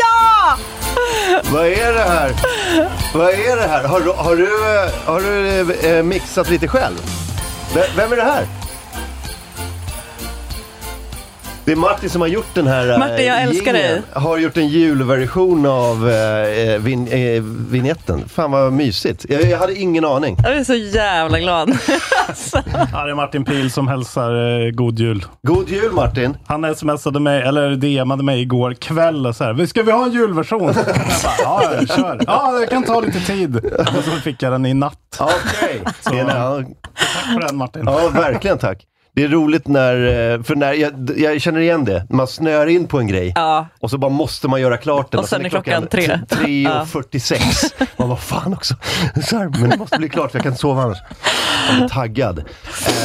Ja! Vad är det här? Vad är det här? Har, du- har du, eh, har du eh, mixat lite själv? V- Vem är det här? Det är Martin som har gjort den här eh, Martin, jag älskar jingeln. dig. Har gjort en julversion av eh, eh, vin, eh, vignetten. Fan vad mysigt. Jag, jag hade ingen aning. Jag är så jävla glad. Ja, det är Martin Pil som hälsar eh, god jul. God jul Martin! Han smsade mig, eller DMade mig igår kväll och så här, "Vi- ska vi ha en julversion? Jag bara, ja, ja, kör. Ja, det kan ta lite tid. Och så fick jag den i natt. Okej! ja, Tack för den Martin. ja, verkligen tack. Det är roligt när, eh, för när, jag, jag känner igen det, man snör in på en grej. Ja, Och så bara måste man göra klart den. Alltså, Och sen är klockan tre. tre Ja. och 46. Man bara, fan också. Så här, men det måste bli klart för jag kan inte sova annars. Jag är taggad.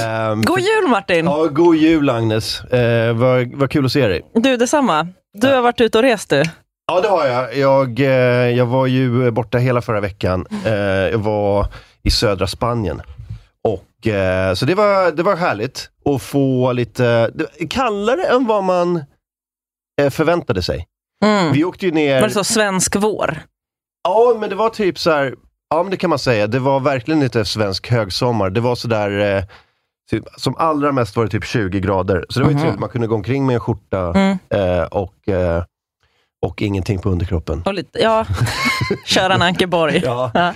Ehm, god jul Martin! ja, god jul Agnes. Eh, vad, vad kul att se dig. Du, detsamma. Du har varit ute och rest du. Ja, det har jag. Jag, eh, jag var ju borta hela förra veckan. Eh, jag var i södra Spanien. Och, eh, så det var, det var härligt att få lite det- kallare än vad man eh, förväntade sig. Mm. Vi åkte ju ner... Var det så svensk vår? Ja, men det var typ så här, ja men det kan man säga, det var verkligen inte svensk högsommar. Det var så där, eh, typ, som allra mest var det typ 20 grader. Så det var ju Mhm. trevligt, man kunde gå omkring med en skjorta Mm. eh, och, eh, och ingenting på underkroppen. Och lite, ja, köra en Ankeborg. Ja. Ja. Eh,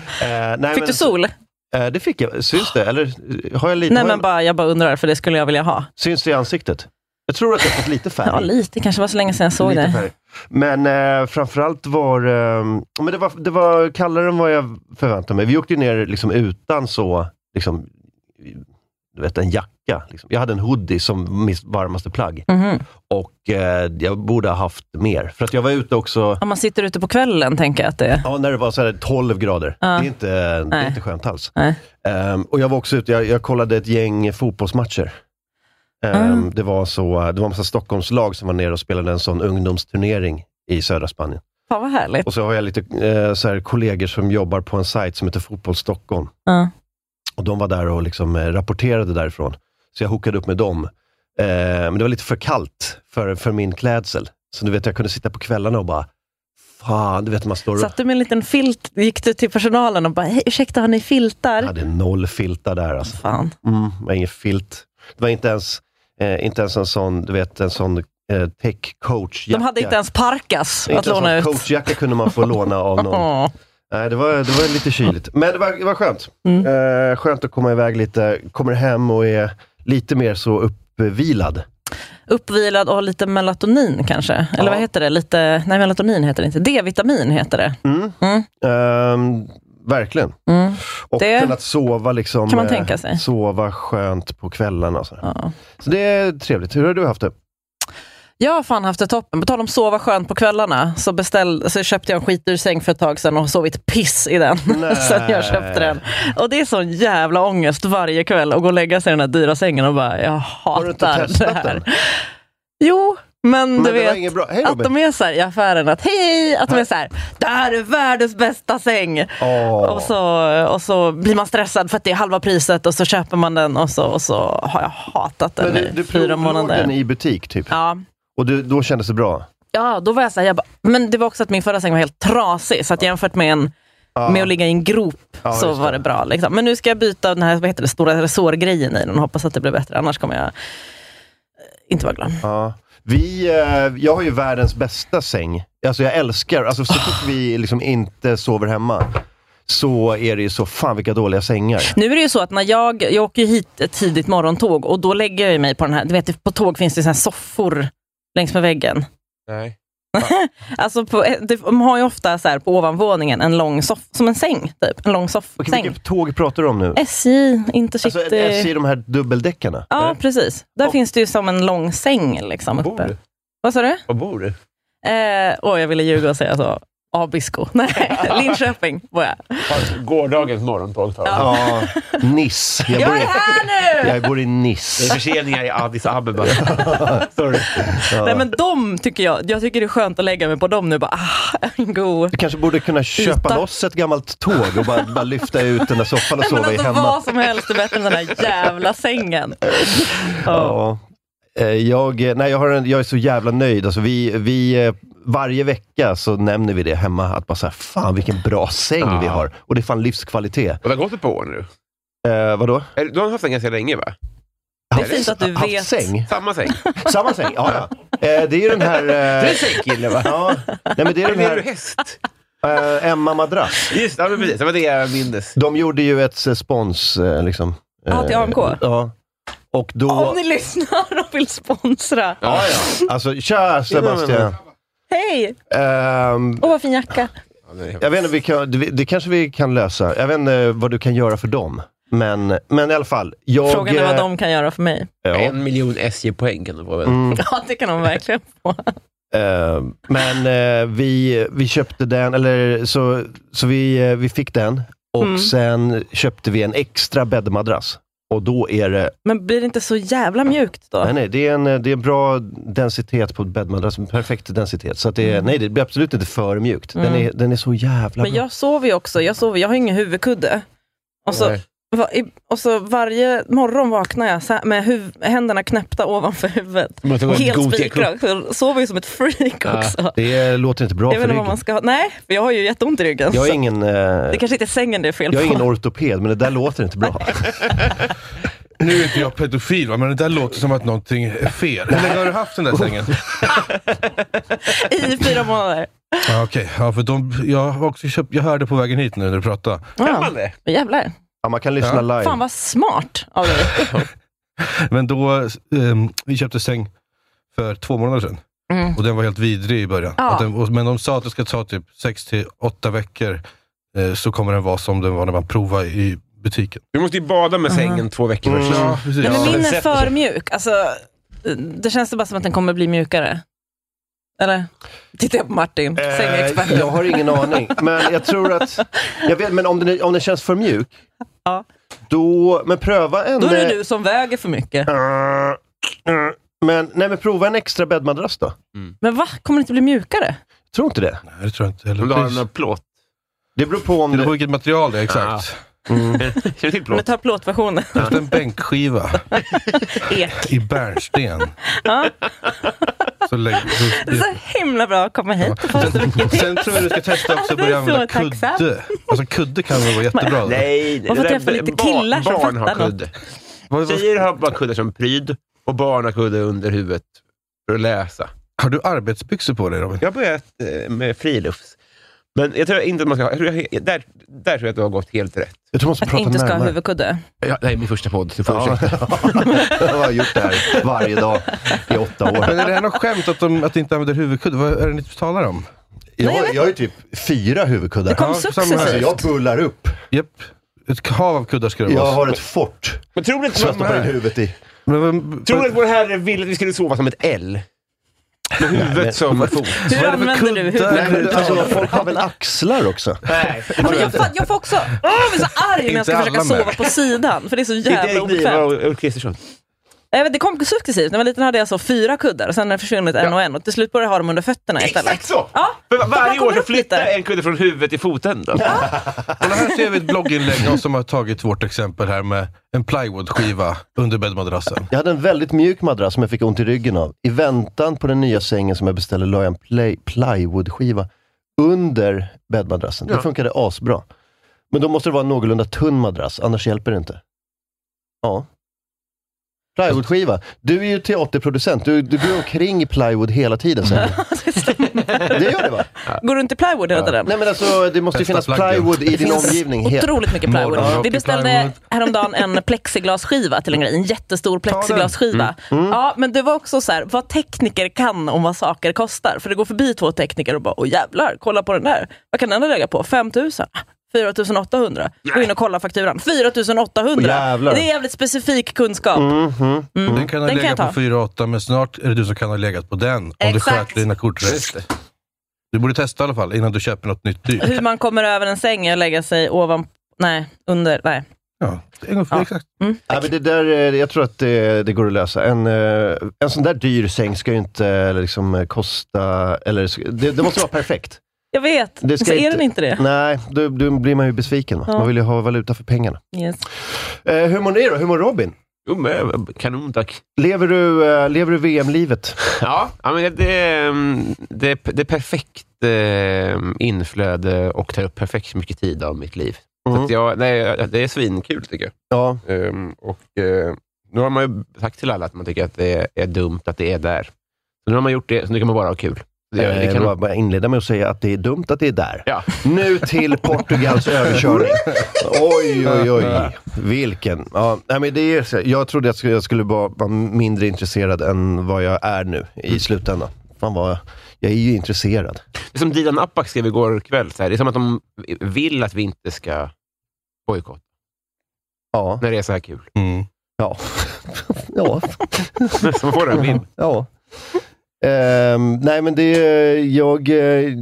nej, Fick men, du sol? Eh, det fick jag. Syns det? Eller eh, har jag lite? Nej, har jag, men bara, jag bara undrar, för det skulle jag vilja ha. Syns det i ansiktet? Jag tror att jag har fått lite färg. Ja, lite kanske. Det var så länge sedan jag såg Lite dig. färg. Men eh, framförallt var, eh, men det var det var kallare än vad jag förväntade mig. Vi åkte ju ner liksom utan så, liksom, du vet en jacka. Liksom. Jag hade en hoodie som mitt varmaste plagg Mhm. och eh, jag borde ha haft mer. För att jag var ute också, Om man sitter ute på kvällen tänker jag att det är. ja, när det var så här 12 grader. Ja. Det, är inte, det Nej. är inte skönt alls. Nej. Ehm, och jag var också ute, jag, jag kollade ett gäng fotbollsmatcher. Ehm, Mm. Det var så, det var en massa Stockholmslag som var nere och spelade en sån ungdomsturnering i södra Spanien. Fan vad härligt. Och så har jag lite eh, så här, kollegor som jobbar på en sajt som heter Fotboll Stockholm. Ja. Och de var där och liksom, eh, rapporterade därifrån. Så jag hookade upp med dem. Eh, men det var lite för kallt för, för min klädsel. Så du vet, jag kunde sitta på kvällarna och bara, fan, du vet man står och... Satt du med en liten filt? Gick du till personalen och bara, hej, ursäkta, har ni Jag filtar? hade noll filtar där alltså. Fan. Mm, det var ingen filt. Det var inte ens, eh, inte ens en sån, du vet, en sån eh, tech coach De hade inte ens parkas att inte ens låna en ut. sån coachjacka kunde man få låna av någon. Åh. Nej, det var, det var lite kyligt. Men det var, det var skönt. Mm. Eh, skönt att komma iväg lite, kommer hem och är lite mer så uppvilad. Uppvilad och lite melatonin kanske? Eller Ja. vad heter det? Lite, nej, melatonin heter det inte. D-vitamin heter det. Mm. Mm. Ehm, verkligen. Mm. Och Det kunnat sova liksom. kan man eh, tänka sig. Sova skönt på kvällarna. Och så. Ja. så det är trevligt. Hur har du haft det? Jag har fan haft det toppen. På tal om sova skönt på kvällarna så, beställ, så köpte jag en skitdyr säng för ett tag sedan och har sovit piss i den Nej. sen jag köpte den. Och det är sån jävla ångest varje kväll att gå och lägga sig i den här dyra sängen och bara, jag hatar Har du inte det testat här. den? Jo, men, Men du det var vet. inget bra. Hej Att de Robin! är så här i affären, att hej, att de är så här, det här är världens bästa säng. Åh. Och, så, och så blir man stressad för att det är halva priset och så köper man den och så, och så har jag hatat den Men du, i du fyra provlåg månader. den i butik typ. Ja. Och du, då kändes det bra. ja, då var jag så här, jag bara, men det var också att min förra säng var helt trasig, så att jämfört med en med att ligga i en grop Ja, så just var det. det bra. Liksom. Men nu ska jag byta den här vad heter det, stora resårgrejen i den och hoppas att det blir bättre. Annars kommer jag eh, inte vara glad. Ja. Vi, eh, jag har ju världens bästa säng. Alltså jag älskar, alltså så fort vi liksom inte sover hemma så är det ju så, fan vilka dåliga sängar. Nu är det ju så att när jag, jag åker ju hit ett tidigt morgontåg och då lägger jag ju mig på den här, du vet på tåg finns det så här soffor längs med väggen. Nej. Alltså på, det- de har ju ofta så här på ovanvåningen en lång soff, som en säng typ. En lång Okej, soffsäng. vilket tåg pratar du om nu? SJ, Intercity. Alltså SJ, de här dubbeldäckarna? ja, Eller? precis. Där Och- finns det ju som en lång säng liksom Var bor uppe. du? Vad sa du? Var bor du? Eh, åh, jag ville ljuga och säga så. Abisko. Nej, Linköping var jag. Gårdagens morgontåg tar jag. Ja, Niss. Jag bor, Jag är i, här nu! jag bor i Det är Niss. förseningar i Addis Abeba. Sorry. Nej, men de tycker jag, jag tycker det är skönt att lägga mig på dem nu. Bara, ah, en god... Du kanske borde kunna köpa Yta. loss ett gammalt tåg och bara, bara lyfta ut den där soffan och Nej, men sova i alltså, hemma. vad som helst är bättre än den här jävla sängen. Ja. Ja. Eh, Jag, eh, nej, jag, har en, jag är så jävla nöjd. Alltså vi, vi, eh, varje vecka så nämner vi det hemma, att bara så här, fan vilken bra säng Ja. vi har. Och det är fan livskvalitet. Och det har gått ett par år nu. Eh, vadå? Eller, Du har haft den ganska länge va? Det är fint att du Haft vet. säng? Samma säng. Samma säng? Ja, ja. Eh, det är ju den här... Du är Eh, sängkille va? ja. Nej, men det är den Eller är du här häst? eh, Emma Madrass. Just ja, men precis. Det var det jag mindes. De gjorde ju ett eh, spons, eh, liksom. eh, Ja, till AMK? Ja. Och då... Om ni lyssnar och vill sponsra. Ja, ja. Alltså, tja Sebastian! Hej! Ehm, Åh, vad fin jacka. Jag vet inte, vi kan, det, det kanske vi kan lösa. Jag vet inte vad du kan göra för dem. Men, men i alla fall. Jag, Frågan är vad eh, de kan göra för mig. Ja, En miljon SJ-poäng kan du få. väl? mm, Ja, det kan de verkligen få. eh, men eh, vi, vi köpte den, eller så, så vi, eh, vi fick den. Och Mm. sen köpte vi en extra bäddmadrass. Och då är det, Men blir det inte så jävla mjukt då? nej, nej, det, är en, eh, det är en bra densitet på bäddmadrass, en perfekt densitet. Så att det, är- nej, det blir absolut inte för mjukt. Den, Mm. är, den är så jävla Men jag sover ju också. Jag, sover, jag har ingen huvudkudde. Och så, Nej. va, i, och så varje morgon vaknar jag så här, med huv, händerna knäppta ovanför huvudet. Man måste gå en Helt god tekopp. spikrak. Så jag Sover ju som ett freak Ja, också. Det låter inte bra jag vet för inte vad man ryggen. ska ha. Nej, för jag har ju jätteont i ryggen. Jag är så ingen... eh, det kanske inte är sängen det är fel Jag är på. ingen ortoped, men det där låter inte bra. Nu är inte jag pedofil, va? men det där låter som att någonting är fel. Hur länge har du haft den där sängen? I fyra månader. Ja, Okej, ja, för de, jag, har också köpt, jag hörde på vägen hit nu när du pratade. Kan man Ja. det? Jävlar. Ja, man kan lyssna Ja. live. Fan vad smart av dig. Men då, ehm, vi köpte säng för två månader sedan. Mm. Och den var helt vidrig i början. Ja. Att den, och, men de sa att det ska ta typ 6 till 8 veckor, eh, så kommer den vara som den var när man provade i butiken. Du måste ju bada med sängen två veckor Mm. först. Ja, precis. Nej, men Ja, min men är sätt- för mjuk. Alltså, det känns det bara som att den kommer bli mjukare. Eller? Tittar jag på Martin, Eh, sängexperten. jag har ingen aning, men jag tror att... Jag vet, men om den, är- om den känns för mjuk, Ja. då... Men pröva en... Då är det eh, du som väger för mycket. eh, Men, nej, men prova en extra bäddmadrass då. Men va? Kommer det inte bli mjukare? Tror inte det. Nej, det tror jag inte Om du har heller. en Pris. plåt. Det beror på om Det beror på det... vilket material det är exakt. Känner du till Om du plåt? tar plåtversionen. Efter en bänkskiva Ek. i bärnsten. Ja. Så lägg, så, Det är så himla bra att komma hit och få så mycket tips. Sen tror jag du ska testa också att Ja, börja det är använda så tacksam. kudde. Alltså kudde kan väl vara jättebra? Nej, det Varför där- träffar lite killar som barn har fattar något? kudde. Vad- vad- Tjejer har bara kuddar som pryd och barn har kudde under huvudet för att läsa. Har du arbetsbyxor på dig Robin? Jag har börjat eh, med frilufts. Men jag tror inte att man ska... Jag tror jag, där, där tror jag att du har gått helt rätt. Jag tror man måste Att prata inte ska ha närmare. huvudkudde. Ja, det här är min första podd, du får Ja. ursäkta. jag har gjort det här varje dag i åtta år. Men är det här något skämt att de att de inte använder huvudkudde? Vad är det ni talar om? Jag, jag har ju typ fyra huvudkuddar. Det kom Ja, samma Alltså, här. successivt. jag bullar upp. Japp. Ett hav av kuddar ska det Jag vara. har ett fort Men tror du inte som jag att, stoppar in man, huvudet i. Men, men, tror du att vår herre ville att vi skulle sova som ett L? Med huvudet som fot? Hur vad är det för använder du kuddar? Nej, men, huvudkudde? alltså, folk har väl axlar också? Nej, Ja, men Jag, fa- jag får också... Åh, jag blir så arg när jag ska Inte försöka alla med. sova på sidan, för det är så inte jävla Erik Niva obekvämt. och Ulf Kristersson. Nej, men Det kom successivt. När jag var liten hade jag så fyra kuddar, och sen har det försvunnit en och en. Och till slut började jag ha dem under fötterna istället. Exakt så! Ja, För varje kommer år så upp lite. flyttar en kudde från huvudet till foten. Då. kolla, här ser vi ett blogginlägg av som har tagit vårt exempel här med en plywoodskiva under bäddmadrassen. Jag hade en väldigt mjuk madrass som jag fick ont i ryggen av. I väntan på den nya sängen som jag beställde la jag en play, plywoodskiva under bäddmadrassen. Ja. Det funkade asbra. Men då måste det vara en någorlunda tunn madrass, annars hjälper det inte. Ja. Plywoodskiva. Du är ju teaterproducent. Du, du går omkring i plywood hela tiden. Sen. Det gör det va? Går runt i plywood hela tiden? Nej men alltså, det måste ju Bästa finnas plaggen. plywood i din Det finns omgivning. helt. Otroligt mycket plywood. Morgonrock Vi i beställde plywood. häromdagen en plexiglasskiva till en grej. En jättestor den. plexiglasskiva. Mm. Ja, men det var också så här, vad tekniker kan om vad saker kostar. För det går förbi två tekniker och bara, åh jävlar, kolla på den där. Vad kan den ha legat på? 5 000? 4 800. Gå in och kolla fakturan. 4 800! Åh, jävlar. Mm. det är jävligt specifik kunskap. Mhm. Mm. Den kan ha Den kan legat jag ta. på 4,8 men snart är det du som kan ha legat på den. Om du Exakt. sköter dina kort rätt. Du borde testa i alla fall innan du köper något nytt dyrt. Hur man kommer över en säng och lägga sig ovan... Nej, under... Nej. Ja, det är ungefär Ja. exakt. Ja, men det där, eh, jag tror att det, det går att lösa. En, eh, en sån där dyr säng ska ju inte eh, liksom, eh, kosta... Eller, sk- det, det måste vara perfekt. Jag vet, Det ska så är inte- den inte det? Nej, då, då blir man ju besviken. Va? Ja. Man vill ju ha valuta för pengarna. Yes. Eh, hur mår ni då? Hur mår Robin? Jo, men, kanon tack. Lever du, eh, lever du VM-livet? Ja, ja, men det, det, mm, det, det är perfekt eh, inflöde och tar upp perfekt mycket tid av mitt liv. Så Mm. att jag, nej, jag- det är svinkul tycker jag. Ja. Ehm, och, eh, nu har man ju sagt till alla att man tycker att det är, är dumt att det är där. Så nu har man gjort det, så nu kan man bara ha kul. Det, Det, det jag kan, kan Eh, bara, bara inleda med att säga att det är dumt att det är där. Ja. Nu till Portugals överkörning. Oj, oj, oj. Vilken. Ja, nej, men det är, så- jag trodde att jag skulle vara, vara mindre intresserad än vad jag är nu i slutändan. Fan vad, jag är ju intresserad. det är som Dilan Apak skrev igår kväll, så här, det är som att de vill att vi inte ska bojkotta Ja. när det är så här kul. Mm. Ja. ja. Så man får den vind. ja. Ehm, nej, men det, jag, eh,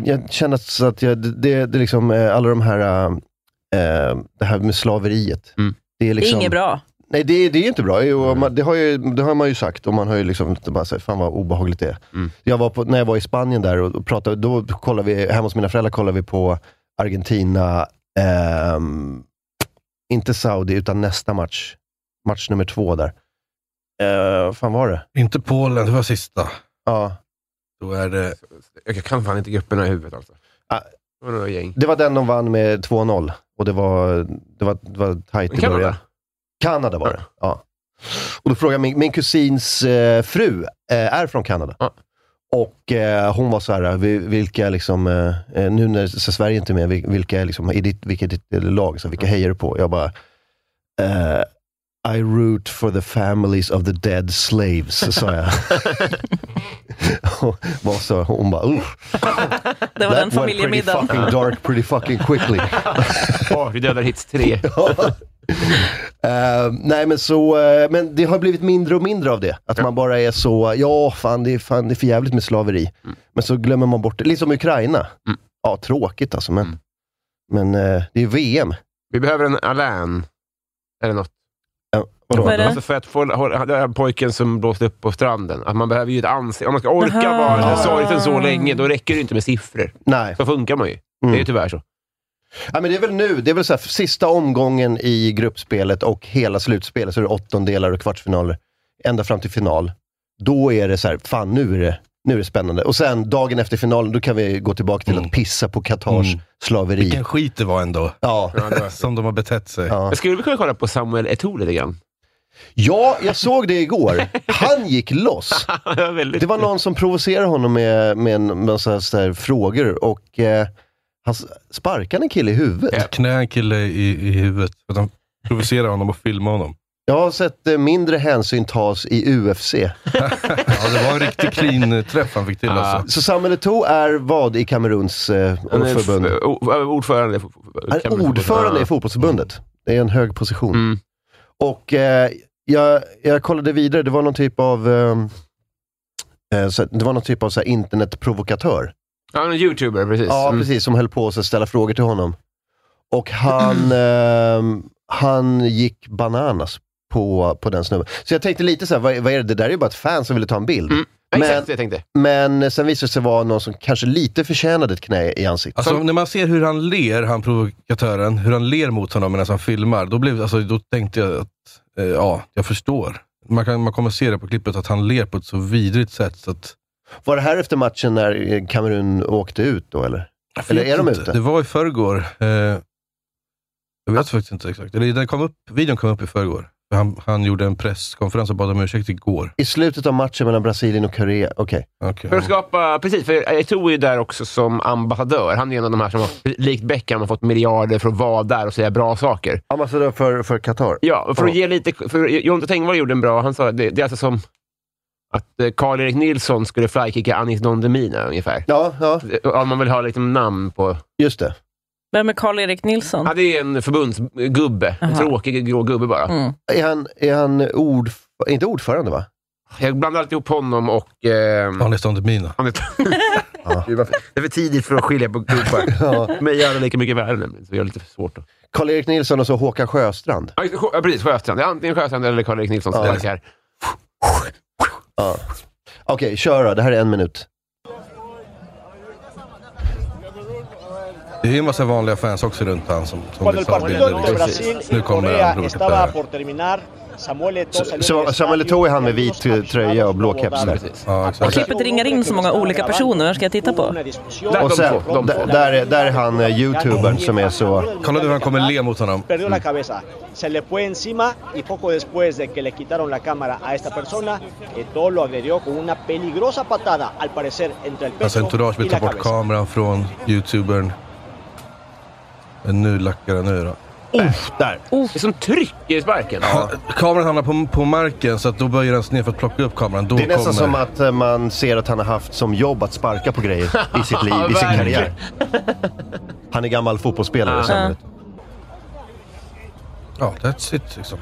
jag känner att- så att jag, det, det är liksom, eh, alla de här, eh, det här med slaveriet. Mm. Det är Det är liksom, inget bra. Nej, det, det är ju inte bra. Jo, man- Det har, ju, det har man ju sagt och man har ju liksom inte bara sagt, fan vad obehagligt det är. Mm. Jag var på, när jag var i Spanien där och och pratade, då kollade vi, hemma hos mina föräldrar kollade vi på Argentina, ehm, inte Saudi, utan nästa match. Match nummer två där. Eh, vad fan var det? Inte Polen, det var sista. Ja, Då är det... Jag kan fan inte grupperna i huvudet alltså. Ah. Det var några gäng. det var den de vann med 2-0 och det var, det var, det var tajt i Kanada? början. Kanada var det. Ja. Och då frågade min, min kusins eh, fru, eh, är från Kanada. Ja. Och eh, hon var så här, vi- vilka liksom, eh, eh, nu när så Sverige inte är med, vil- vilka är liksom, i ditt, vilka är ditt eh, lag? Så, här, Mm. vilka hejar du på? Jag bara, eh, I root for the families of the dead slaves, sa jag. Och var så, hon bara, "Ugh, Det var that den went pretty familjemiddagen. fucking dark pretty fucking quickly. Åh, vi dödar hits tre. Eh, nej, men, så, eh, men det har blivit mindre och mindre av det. Att man bara är så, ja fan det är, fan, det är för jävligt med slaveri. Men så glömmer man bort det. Lite som Ukraina. Mm. Ja, tråkigt alltså, men, Mm. men eh, det är VM. Vi behöver en Alain. Eller något. Vadå? Vad är det? Alltså för att få hålla- den här pojken som blåste upp på stranden. Att man behöver ju ett ansikte. Om man ska orka Aha. vara Ja. den sorgsen så länge, då räcker det inte med siffror. Nej. Så funkar man ju. Det är ju Mm. tyvärr så. Ja, men det är väl nu, det är väl så här, sista omgången i gruppspelet och hela slutspelet, så är det åttondelar och kvartsfinaler, ända fram till final. Då är det så här, fan nu är det, nu är det spännande. Och sen dagen efter finalen, då kan vi gå tillbaka till Mm. att pissa på Qatars Mm. slaveri. Vilken skit det var ändå, Ja. som de har betett sig. Ja. Jag skulle vilja kunna kolla på Samuel Eto'o lite grann. Ja, jag såg det igår. Han gick loss. Det var väldigt- Det var någon som provocerade honom med, med en massa så här frågor och eh, han s- sparkade en kille i huvudet. Knä en kille i, i huvudet. För att de provocerar honom och filmar honom. Jag har sett eh, mindre hänsyn tas i UFC. Ja, det var en riktig clean träff han fick till alltså. Så Samuel Eto'o är vad i Kameruns eh, Han är förbund? f- o- ö- Ordförande. i fo- fo- Han är Kamerun- ordförande i Ja. fotbollsförbundet. Det är en hög position. Mm. Och eh, jag, jag kollade vidare, det var någon typ av, eh, eh, så, det var någon typ av så här, internetprovokatör. Ja, han är youtuber, precis. Ja, Mm. precis. Som höll på att ställa frågor till honom. Och han, ehm, han gick bananas på, på den snubben. Så jag tänkte lite så här, vad, vad är det? Det där är ju bara ett fan som ville ta en bild. Mm. Ja, Men- Exakt det jag tänkte. Men sen visade det sig vara någon som kanske lite förtjänade ett knä i ansiktet. Alltså när man ser hur han ler, han provokatören, hur han ler mot honom medan han filmar, då, blev, alltså, då tänkte jag att, eh, ja, jag förstår. Man, kan, man kommer se det på klippet, att han ler på ett så vidrigt sätt. Så att, Var det här efter matchen när eh, Kamerun åkte ut då, eller? Jag Eller är de inte. Det ute? var i förrgår. Eh, jag vet faktiskt inte exakt. Eller den kom upp, videon kom upp i förrgår. Han, han gjorde en presskonferens och bad om ursäkt igår. I slutet av matchen mellan Brasilien och Korea. Okej. Okay. För att skapa, precis, för Eto'o är ju där också som ambassadör. Han är en av de här som, har, likt Beckham, har fått miljarder för att vara där och säga bra saker. Ambassadör för, för Qatar. Ja, och för att ge lite... För Jonte Tengvall gjorde en bra... Han sa det, det är alltså som att eh, Karl-Erik Nilsson skulle flykicka Anis Don Demina ungefär. Ja, ja, Eh, Om man vill ha liksom namn på... just det. Vem är Karl-Erik Nilsson? Ja, det är en förbundsgubbe. En Aha. tråkig grå gubbe bara. Mm. Är han, är han ord, inte ordförande va? Jag blandar alltid ihop honom och... Eh, Anis Don Demina. Anis- Det är varför- det är för tidigt för att skilja på gubbar. Ja. Mig gör det lika mycket värre nämligen, så det är lite svårt. Då. Karl-Erik Nilsson och så Håkan Sjöstrand. Ja, just det, Sjö- ja, precis. Sjöstrand. Det är antingen Sjöstrand eller Karl-Erik Nilsson som Ja. ja. här. Ja. Okej, kör då. Det här är en minut. Det är ju en massa vanliga fans också runt han som, som visar bilder. Liksom. Nu kommer han Robert Pereira. Så- så Samuel Eto'o är han med vit eh, tröja och blå keps där. Ja, Jag exakt. slipper inte ringa in så många olika personer. Vem ska jag titta på? Där, Och de sen, två, de d- två. där, är- där är han eh, youtubern som är så... Kolla nu hur han kommer le mot honom. Perdió la cabeza, se le fue encima y poco después de que le quitaron la cámara a esta persona, Eto'o lo agredió con una peligrosa patada, al parecer entre el Alltså pecho Entourage y vill ta la bort cabeza. kameran från youtubern. Men nu lackar han ur. då. Där. Det är som tryck i sparken. Kameran hamnar på, på marken så att då böjer han sig ner för att plocka upp kameran. Då Det är nästan kommer... som att eh, man ser att han har haft som jobb att sparka på grejer i sitt liv, i sin Verkligen. karriär. Han är gammal fotbollsspelare. Samuel Eto'o. Ja, that's it liksom.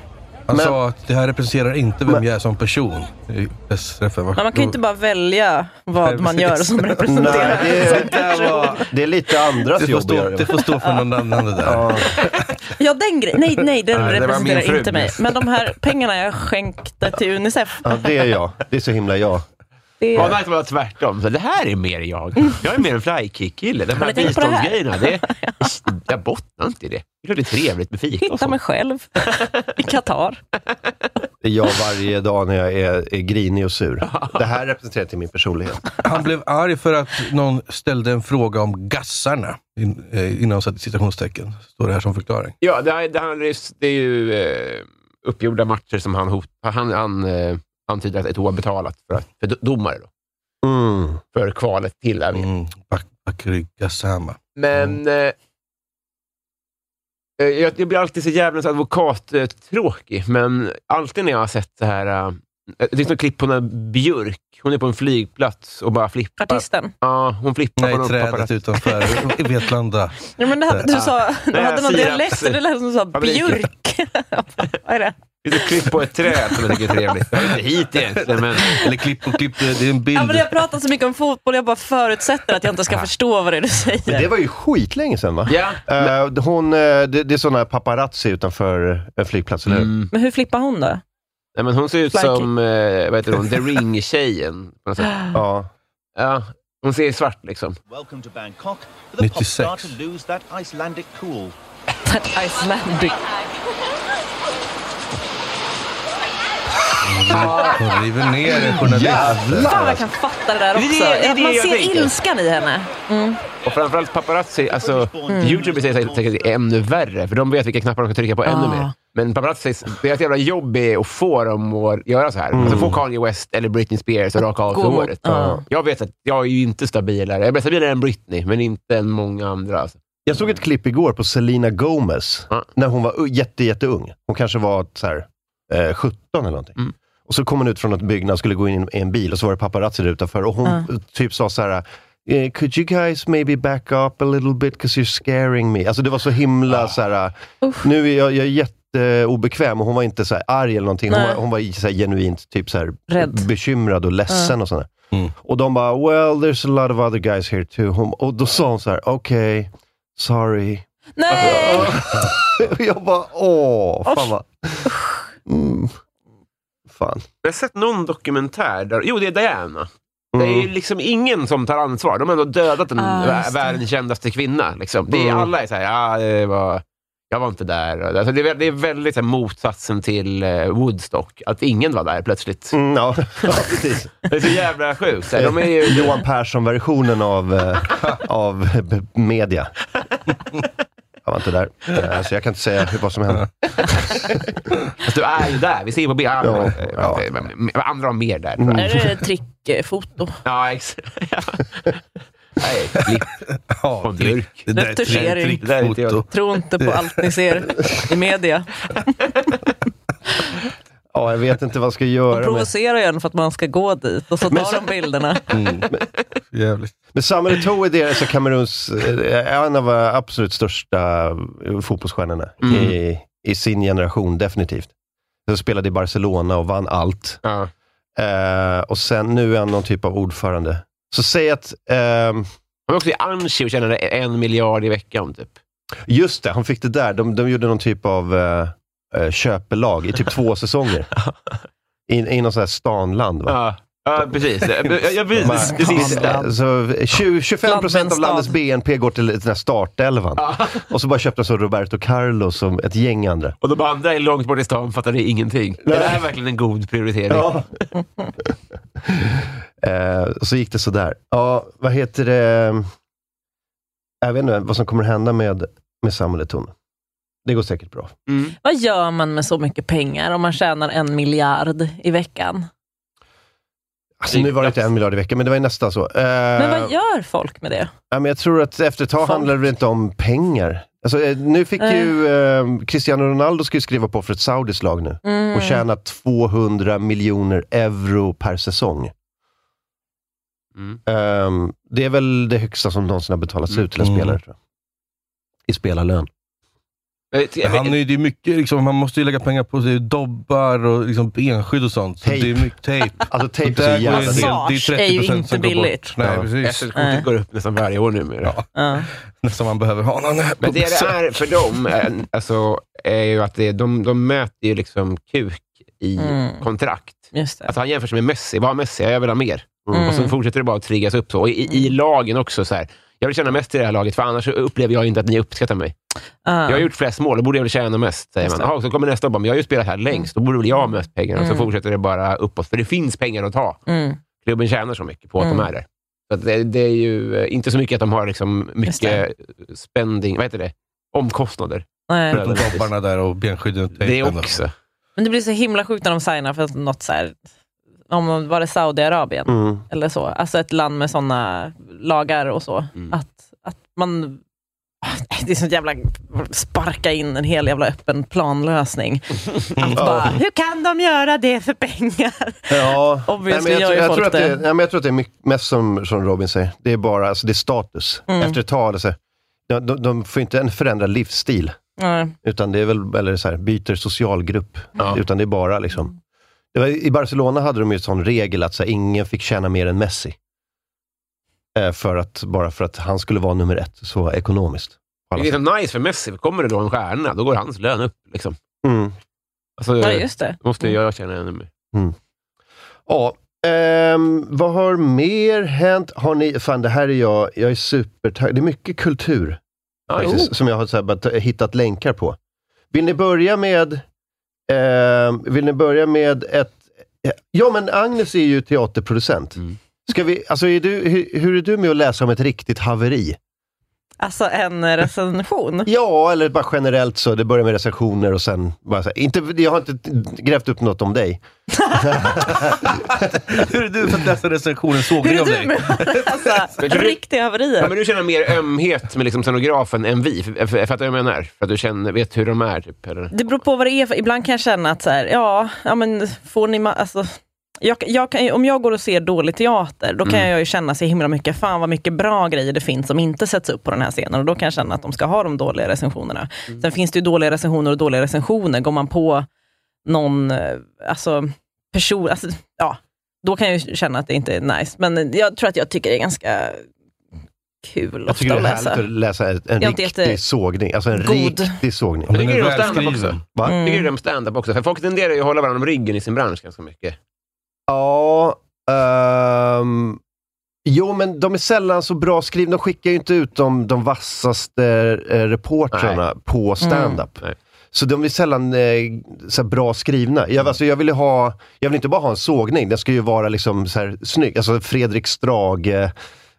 Han Men- sa att det här representerar inte vem Men- jag är som person. I dess referens. Men man kan ju inte bara välja Nej, vad man gör precis. som Nej, representerar. det, är- det är lite andras det, får jobb att stå, göra det det. får stå för någon annan det där. Ja. Ja, den grejen. Nej, nej, den Nej, det var representerar min fru. inte mig. Men de här pengarna jag skänkte till Unicef. Ja, det är jag. Det är så himla jag. Det Ja, är... nej, det var tvärtom. Så det här är mer jag. Jag är mer en flykick-kille. De Har här ni tänkt på det här? biståndsgrejerna, det, jag bottnar inte i det. Det är klart det är trevligt med fika och Hitta mig sånt. själv i Qatar. Det är jag varje dag när jag är, är grinig och sur. Det här representerar till min personlighet. Han blev arg för att någon ställde en fråga om gassarna. In, eh, innan han satte citationstecken. Står det här som förklaring. Ja, det, här, det, här, är- det är ju eh, uppgjorda matcher som han hotar. Han, han eh, antyder att Eto'o har betalat för, att- för do- domare då, Mm. för kvalet till Armenien. Mm, Bak- Bakary Gassama. Men eh, eh, jag, jag blir alltid så djävulens advokat eh, tråkig, men alltid när jag har sett så här... Eh, det finns något klipp på när Björk, hon är på en flygplats och bara flippar. Artisten. Ja, hon flippar Nej, på någon trädet paparazzi. utanför i Vetlanda. Ja, men det hade, du sa, du Nej, hade någon Sirap. dialekt, så det lät som du sa Fabriken. björk. Vad är det? Det är ett klipp på ett träd som jag tycker är trevligt. Jag är inte hit egentligen, men... Eller klipp och klipp, det det är en bild. Ja, men jag pratar så mycket om fotboll, jag bara förutsätter att jag inte ska förstå vad det är du Men det säger. var ju skitlänge sedan va? Ja. Eh, hon, eh, det, det är sådana paparazzi utanför en flygplats, eller hur? Mm. Men hur flippar hon då? Nej, men hon ser ut Flaky. som eh, vad heter hon? The Ring-tjejen. på något sätt. Ja. Ja, hon ser svart liksom. 96. That Icelandic. Hon river ner en journalist. Fan vad jag kan fatta det där Det är det- också. det är det Att man jag ser tänker. ilskan i henne. Och framförallt paparazzi, alltså Youtube säger säkert säkert är ännu värre, för de vet vilka knappar de ska trycka på ännu Ah. mer. Men paparazzi, deras jävla jobb är att få dem att göra så här. Alltså få Kanye West eller Britney Spears att raka av sig Mm. Gå mot- håret. ja. Jag vet att jag är ju inte stabilare. Jag är stabilare än Britney, men inte än många andra. Alltså. Jag såg ett klipp igår på Selena Gomez, Ja. när hon var u- jätte, jätteung. Hon kanske var så här, eh, 17 eller någonting. Mm. Och så kom hon ut från ett byggnad och skulle gå in i en bil och så var det paparazzi där utanför och hon eh, typ sa så här eh, Could you guys maybe back up a little bit because you're scaring me? Alltså det var så Ah. himla så här, eh, nu är jag, jag är jätteobekväm och hon var inte så här arg eller någonting. Hon Nej. var, hon var så här genuint typ så här Rädd. bekymrad och ledsen och sådär. Mm. Och de bara, well there's a lot of other guys here too. Hon, och då sa hon så här, okej, sorry. Nej! Och jag bara, åh, fan vad... Mm. Fan. Jag har sett någon dokumentär där, jo det är Diana. Det Mm. är ju liksom ingen som tar ansvar. De har ändå dödat den Ah, vä- just det. världens kändaste kvinna. Liksom. Det är, Mm. Alla är så här, ah, det var... Jag var inte där. Alltså, det, är, vä- det är väldigt så här, motsatsen till eh, Woodstock, att ingen var där plötsligt. Mm, ja, ja, precis. Det är så jävla sjukt. så här. De är ju... Johan Persson-versionen av, eh, av b- media. Jag var inte där, eh, så jag kan inte säga hur- vad som hände. Fast alltså, du är ju där. Vi ser ju på bild. Andra, Ja, eh, ja. Mm. men- men- andra har mer där, tror jag. Där är det trickfoto. Ja, exakt. Ja. Nej, klipp Ja, från det, Björk. det där är Retuschering. ett Det där är inte jag. trickfoto. Tro inte på allt ni ser i media. Ja, jag vet inte vad jag ska De göra. Men, provocerar ju en för att man ska gå dit och så tar de bilderna. Jävligt. men Samuel Eto'o är deras, alltså Kameruns, eh, en av våra absolut största eh, fotbollsstjärnorna i, i sin generation, definitivt. Han spelade i Barcelona och vann allt. Ja. Eh, och sen, nu är han någon typ av ordförande. Så säg att, ehm, Han var också i Anchi och tjänade en miljard i veckan. Typ. just det, han fick det där. De, de gjorde någon typ av eh, eh, köpelag i typ två säsonger. I, I någon sån här stanland. Va? Ja. ja, precis. Ja, ja, Man- precis. Det sista. Så 20, 25 alltså, procent av Landvenstad. landets BNP går till den här startelvan. Och så bara köpte så Roberto Carlos och ett gäng andra. Och de andra är långt bort i stan fattade ingenting. Det där är verkligen en god prioritering. eh, och så gick det sådär. Ja, vad heter det? Jag vet inte vad som kommer hända med, med Samuel Eto'o. Det går säkert bra. Mm. Vad gör man med så mycket pengar om man tjänar en miljard i veckan? Alltså, nu var det inte en miljard i veckan, men det var ju nästan så. Eh, Men vad gör folk med det? Ja, men jag tror att efter ett tag Folk. handlar det inte om pengar. Alltså, eh, nu fick Nej. ju eh, Cristiano Ronaldo ska ju skriva på för ett saudiskt lag nu Mm. och tjäna 200 miljoner euro per säsong. Mm. Ehm, det är väl det högsta som någonsin har betalats ut till en Mm. spelare. Tror jag. I spelarlön. Jag vet- jag vet- Han är, ju- det är mycket, liksom, man måste ju lägga pengar på sig, dobbar och liksom, benskydd och sånt. Så Tejp. det är mycket tejp. Alltså tejp är Där så går ju en jävla del- dyrt. Massage är ju 30% inte som går bort. billigt. Nej, Ja. precis. Nej. SL-kortet går upp nästan varje år numera. Ja. Ja. Nästan man behöver ha någon Men det det är för dem eh, alltså, är ju att det, de, de möter ju liksom kuk i Mm. kontrakt. Just det. Alltså han jämför sig med Messi. Vad har Messi? Jag vill ha mer. Mm. Och så fortsätter det bara att triggas upp så. Och i, i lagen också. så här. Jag vill tjäna mest i det här laget, för annars så upplever jag inte att ni uppskattar mig. Ja. Jag har gjort flest mål, då borde jag väl tjäna mest, säger Just man. det. Aha, så kommer nästa och bara, men jag har ju spelat här längst, då borde väl jag ha mest pengar. Och Mm. så fortsätter det bara uppåt, för det finns pengar att ta. Mm. Klubben tjänar så mycket på att Mm. de är där. Så att det, det är ju eh, inte så mycket att de har liksom Just mycket spending, vad heter det? Omkostnader. Nej. För- Förutom dobbarna där och benskydden och Det tejpen. också. Men det blir så himla sjukt när de signar för något så här, om var det Saudiarabien Mm. eller så, alltså ett land med sådana lagar och så, Mm. att, att man Ah, det är sånt jävla sparka in en hel jävla öppen planlösning. Mm. Att bara, hur kan de göra det för pengar? Ja, Obviously nej, men gör jag, ju jag, tror folk att det, det. nej, men jag tror att det är mycket, mest som, som Robin säger. Det är bara alltså, det är status. Mm. Efter ett tag, alltså, de, de, de får inte en förändrad livsstil, Ja, utan det är väl eller så här, byter socialgrupp. Ja. Utan det är bara liksom... Det var, I Barcelona hade de ju en sån regel att så här, ingen fick tjäna mer än Messi. Eh, för att, bara för att han skulle vara nummer ett, så ekonomiskt. Det På alla är sätt. liksom nice för Messi. Kommer det då en stjärna, då går hans lön upp. Liksom. Mm. Alltså, ja, just det. måste jag tjäna ännu mer. Ja, ehm, vad har mer hänt? Har ni, fan, det här är jag, jag är supertaggad. Det är mycket kultur. Ja, faktiskt, som jag har så här, bara t- hittat länkar på. Vill ni börja med ehm, Vill ni börja med ett... eh, Ja, men Agnes är ju teaterproducent. Mm. Ska vi, alltså är du, hur, hur är du med att läsa om ett riktigt haveri? Alltså en recension. Ja, eller bara generellt så. Det börjar med recensioner och sen... Bara så här, inte, jag har inte grävt upp något om dig. Hur är du för att läsa recensionen? Såg Hur ni är av du dig? med alltså, riktiga Ja, haverier? men du känner mer ömhet med liksom scenografen än vi. F- f- Fattar du vad jag menar? För att du känner, vet hur de är. Typ, eller? Det beror på vad det är. för- Ibland kan jag känna att så här, ja, ja, men får ni... ma- Alltså, jag, jag kan, ju- om jag går och ser dålig teater, då kan Mm. jag ju känna så himla mycket, fan vad mycket bra grejer det finns som inte sätts upp på den här scenen. Och då kan jag känna att de ska ha de dåliga recensionerna. Mm. Sen finns det ju dåliga recensioner och dåliga recensioner. Går man på någon eh, alltså, person, alltså, ja, då kan jag ju känna att det inte är nice. Men jag tror att jag tycker det är ganska kul Jag tycker ofta det är att härligt läsa. att läsa en, en Jag är inte riktig jätte- sågning. Alltså en god. riktig sågning. Ja, men Jag den tycker är det är stand-up välskriven. också. Va? Jag tycker det är med stand-up också. För folk tenderar ju att hålla varandra om ryggen i sin bransch ganska mycket. Ja, ehm, Jo, men de är sällan så bra skrivna. De skickar ju inte ut de, de vassaste eh, reportrarna på stand-up. Nej. Så de är sällan eh, så här bra skrivna. Jag, alltså, jag, vill ju ha, jag vill inte bara ha en sågning, den ska ju vara liksom så här snygg. Alltså Fredrik Strage, eh,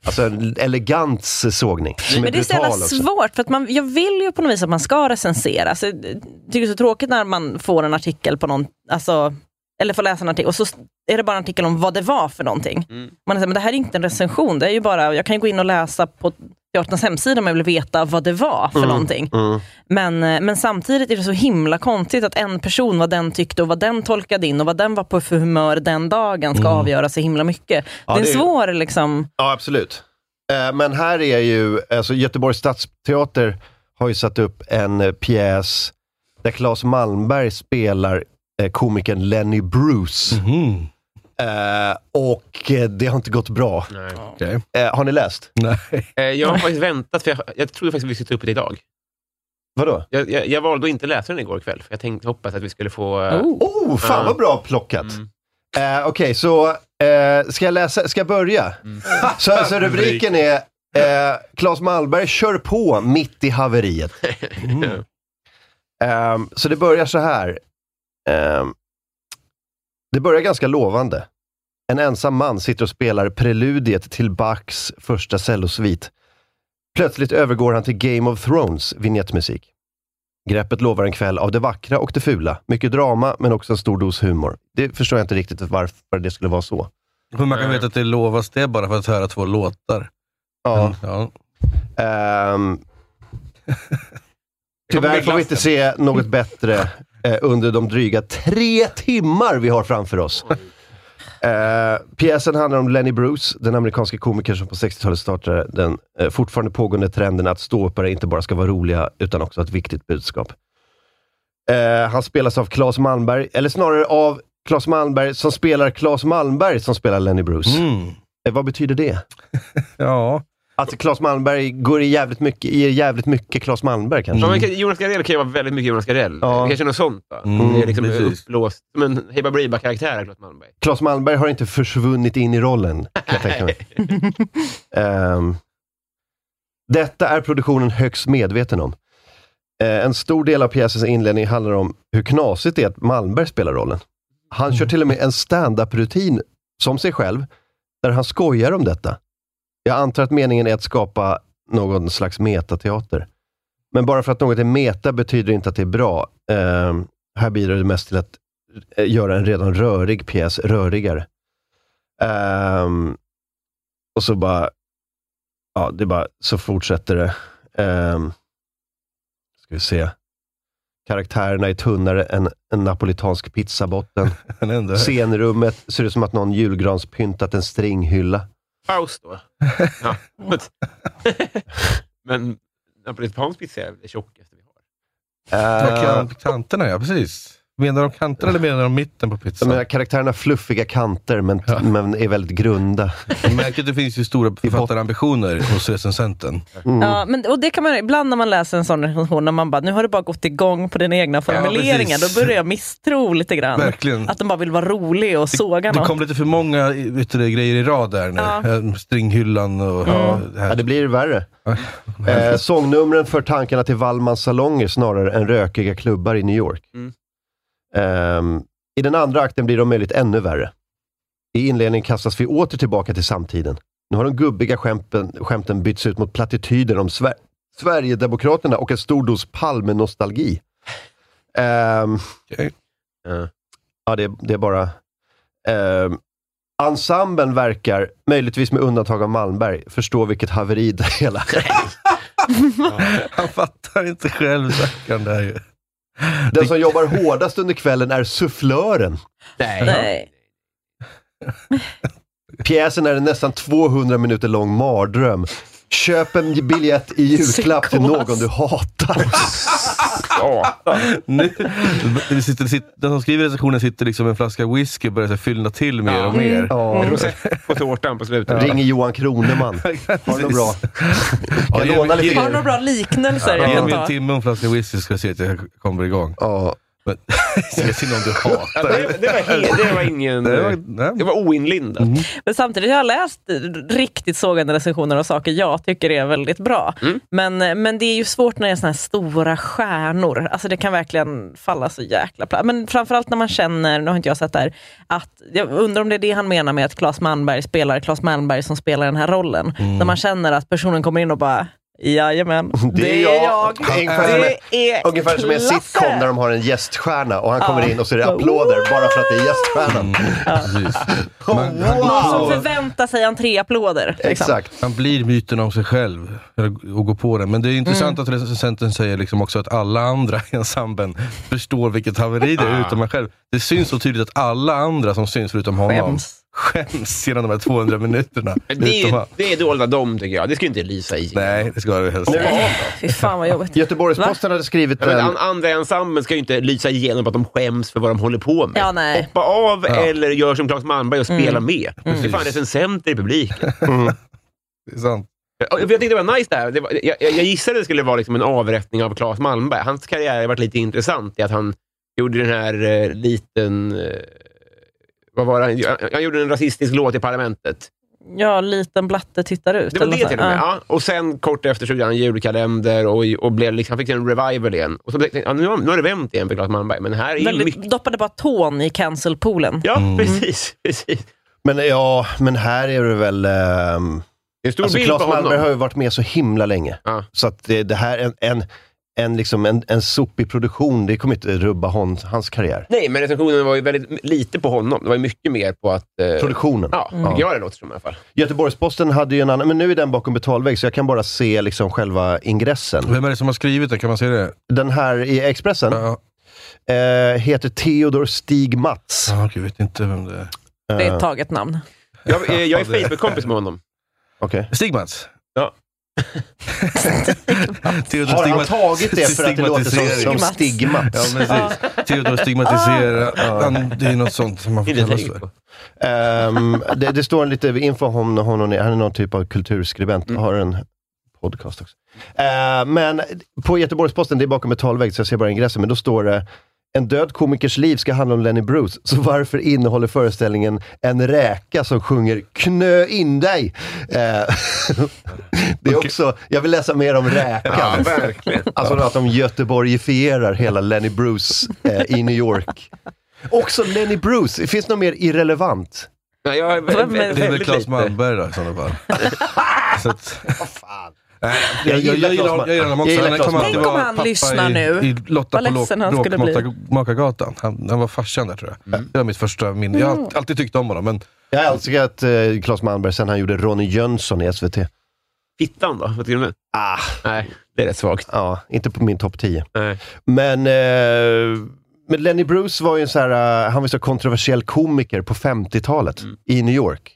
alltså en elegant sågning. Som Men det är så jävla brutal också. svårt, för att man, jag vill ju på något vis att man ska recensera. Alltså, jag tycker det är så tråkigt när man får en artikel på någon, alltså, eller får läsa en artikel, och så är det bara en artikel om vad det var för någonting. Man är så här, men det här är inte en recension, det är ju bara, jag kan ju gå in och läsa på teaterns hemsida om jag vill veta vad det var Mm. för någonting. Men, eh, men samtidigt är det så himla konstigt att en person, vad den tyckte och vad den tolkade in och vad den var på för humör den dagen ska avgöra så himla mycket. det är Mm. det är- en svår liksom... Ja, absolut. Eh, Men här är ju, alltså Göteborgs stadsteater har ju satt upp en eh, pjäs där Claes Malmberg spelar eh, komikern Lenny Bruce. Mhm. Eh, och eh, det har inte gått bra. Nej. Okej. Eh, har ni läst? Nej. Eh, Jag har faktiskt väntat, för jag, jag trodde faktiskt att vi skulle ta upp det idag. Vadå? Jag, jag, jag valde att inte läsa den igår kväll, för jag tänkte, hoppas att vi skulle få... eh, Oh, fan Ja. vad bra plockat! Mm. Eh, Okej, så eh, ska jag läsa, ska jag börja? Så alltså rubriken är eh, Claes Malmberg kör på mitt i haveriet. Mm. Ehm, så det börjar så här. Ehm, det börjar ganska lovande. En ensam man sitter och spelar preludiet till Bachs första cellosvit. Plötsligt övergår han till Game of Thrones vignettmusik. Greppet lovar en kväll av det vackra och det fula. Mycket drama, men också en stor dos humor. Det förstår jag inte riktigt varför det skulle vara så. Men man kan Eh. veta att det lovas det bara för att höra två låtar. Ja. Men, ja. Ehm, kommer tyvärr bli får vi inte glassen. se något bättre eh, under de dryga tre timmar vi har framför oss. Eh, pjäsen handlar om Lenny Bruce, den amerikanska komikern som på 60-talet startade den eh, fortfarande pågående trenden att ståuppare inte bara ska vara roliga, utan också ha ett viktigt budskap. Eh, han spelas av Claes Malmberg, eller snarare av Claes Malmberg som spelar Claes Malmberg som spelar Lenny Bruce. Mm. Eh, vad betyder det? ja. Att Alltså Claes Malmberg går i jävligt mycket, i jävligt mycket Claes Malmberg kanske. Ja, men kan- Jonas Gardell kan ju vara väldigt mycket Jonas Gardell. Ja. Det Kanske något sånt. Va? Mm, det är liksom precis. uppblåst. Som en Hej Baberiba-karaktär, Claes Malmberg. Claes Malmberg har inte försvunnit in i rollen, kan jag tänka mig. Ehm, detta är produktionen högst medveten om. Eh, en stor del av pjäsens inledning handlar om hur knasigt det är att Malmberg spelar rollen. Han kör till och med en stand-up-rutin som sig själv, där han skojar om detta. Jag antar att meningen är att skapa någon slags metateater. Men bara för att något är meta betyder det inte att det är bra. Ehm, här bidrar det mest till att eh, göra en redan rörig pjäs rörigare. Ehm, och så bara, ja, det är bara, så fortsätter det. Um, ska vi se. Karaktärerna är tunnare än en napolitansk pizzabotten. Men ändå. Scenrummet ser ut som att någon julgranspyntat en stringhylla. Paus då. Ja. men napolitansk pizza är väl det tjockaste vi har. Vad Uh, kan- Kanterna ja, precis. Menar de kanterna eller menar de mitten på de pizzan? här karaktärerna har fluffiga kanter, men, Ja. men är väldigt grunda. Jag märker att det finns ju stora författarambitioner hos recensenten. Mm. Ja, men, och det kan man, ibland när man läser en sån recension, när man bara, nu har du bara gått igång på dina egna formuleringar, precis. då börjar jag misstro lite grann. Verkligen. Att de bara vill vara rolig och såga Det något. kom lite för många i- yttre grejer i rad där nu. Ja. Eh, Stringhyllan och ja, det Ja, här. det blir värre. Eh, sångnumren för tankarna till Wallmans salonger snarare än rökiga klubbar i New York. Mm. Ehm, I den andra akten blir de möjligt ännu värre. I inledningen kastas vi åter tillbaka till samtiden. Nu har de gubbiga skämten, skämten bytts ut mot plattityder om Sver- Sverigedemokraterna och en stor dos Palme-nostalgi. Ehm, Okej. eh, Ja, det, det är bara... ehm, Ensemblen verkar, möjligtvis med undantag av Malmberg, förstå vilket haveri det hela är. Han fattar inte själv stackaren där ju. Den som jobbar hårdast under kvällen är sufflören. Nej. Pjäsen är en nästan 200 minuter lång mardröm. Köp en biljett i julklapp till Psykos. någon du hatar. Nu, det sitter, det sitter, den som skriver recensionen sitter liksom med en flaska whisky och börjar så här fyllna till mer och mer. Ja. Rosett på tårtan på slutet. Ringer Johan Kroneman. Har du något bra? Kan ge låna mig- lite ge- Har du några bra liknelser jag Ge kan mig en ta? timme och en flaska whisky så ska jag se att jag kommer igång. Ja. Men, jag ser någon du Ja, hatar. det, det, var helt, det var ingen... Det var- Det nej. Mm. var oinlindat. Men samtidigt har jag läst riktigt sågande recensioner av saker jag tycker är väldigt bra. Mm. Men, men det är ju svårt när det är såna här stora stjärnor. Alltså det kan verkligen falla så jäkla platt. Men framförallt när man känner, nu har inte jag sett det här, att jag undrar om det är det han menar med att Claes Malmberg spelar Claes Malmberg som spelar den här rollen. Mm. När man känner att personen kommer in och bara Jajamän, det är jag. Ungefär som en- Det är Ungefär som i en klasse. sitcom där de har en gäststjärna och han kommer in och så är det applåder bara för att det är gäststjärnan. Mm, Precis. Man, Någon som han, förväntar sig entréapplåder. Liksom. Exakt. han blir myten om sig själv eller- och går på den. Men det är intressant Mm. att recensenten säger liksom också att alla andra i ensemblen förstår vilket haveri det är, utom han själv. Det syns så tydligt att alla andra som syns, förutom honom, Skäms. skäms genom de här 200 minuterna. Men Det är, Utom ju- han. det är dolda dom, tycker jag. Det ska ju inte Lisa i. Nej, det ska du helst inte. Fy fan vad jobbigt. Göteborgs-Posten hade skrivit eh, Ja, men an- en... andra ensemblen ska ju inte lysa igenom att de skäms för vad de håller på med. Ja, nej. Hoppa av eller gör som Claes Malmberg och spela Mm. med. Det är Mm. fan recensenter i publiken. Det är sant. Och Jag tyckte det var nice där. Det var, jag, jag jag gissade det skulle vara liksom en avrättning av Claes Malmberg. Hans karriär har varit lite intressant i att han gjorde den här eh, liten... Eh, vad var det? han- Han, han gjorde en rasistisk låt i Parlamentet. Ja, liten blatte tittar ut. Det var eller det något till och med. sånt. Ja. Ja. Och sen kort efter så gjorde han en julkalender och, och blev liksom, han fick en revival igen. Och så tänkte, ja, nu, har, nu har det vänt igen för Claes Malmberg, men här är ju mycket... Väldigt, doppade bara tån i cancelpoolen. Ja, precis, precis. Men ja, men här är det väl... ehm, Det är en stor Alltså, bild Claes på honom. Malmberg har ju varit med så himla länge. Ja. Så att det, det här, en, en, en, liksom, en, en sopig produktion, det kommer inte rubba hon, hans karriär. Nej, men recensionen var ju väldigt lite på honom. Det var ju mycket mer på att... Eh, Produktionen. ja, Mm. tycker jag det låter som i alla fall. Göteborgs-Posten hade ju en annan, men nu är den bakom betalvägg så jag kan bara se liksom själva ingressen. Vem är det som har skrivit det? Kan man säga det? Den här i Expressen Ja, eh, heter Theodor Stig Mats. ah, jag vet inte vem det är. Det är ett taget namn. Jag, eh, jag är Ja, det- Facebook-kompis med honom. Okej. Stigmats. Ja. Theodor Har han Stigmats. tagit det för att det låter som, som Stigmatisering. stigmat? Ja, precis. Theodor stigmatiserar. Han, det är något sånt som man får Inte kallas tänkt för. på. Ehm, det, det står lite info om honom, honom. Han är någon typ av kulturskribent och har en podcast också. Ehm, men på Göteborgs-Posten, det är bakom betalvägg så jag ser bara ingressen, men då står det en död komikers liv ska handla om Lenny Bruce, så varför innehåller föreställningen en räka som sjunger “knö in dig”? Ehm, det är också, jag vill läsa mer om Ja, räkan. verkligen. Alltså att de göteborgifierar hela Lenny Bruce eh, i New York. Också Lenny Bruce, finns det något mer irrelevant? Nej, jag är vä- Vem vä- är- Det är väl väldigt Claes lite. Malmberg då, i sådana fall. Så att, Nej, Jag jag, jag, gillar jag, gillar, Claes honom- jag gillar Jag honom också. gillar Han Claes kommer alltid Malmberg. Tänk om vara han pappa lyssnar i, nu. i Lotta Vad på ledsen han skulle Bråkmakargatan. Han, han var farsan där tror jag. Det var mitt första minne. Jag har alltid tyckt om honom, men Jag älskar att eh, Claes Malmberg, sen han gjorde Ronny Jönsson i SVT. Fittan då? Vad tycker du om den? Ah, Nej, det är rätt svagt. ja, inte på min topp 10. Nej. Men, eh, men Lenny Bruce var ju en så här, eh, han var så kontroversiell komiker på 50-talet Mm. i New York.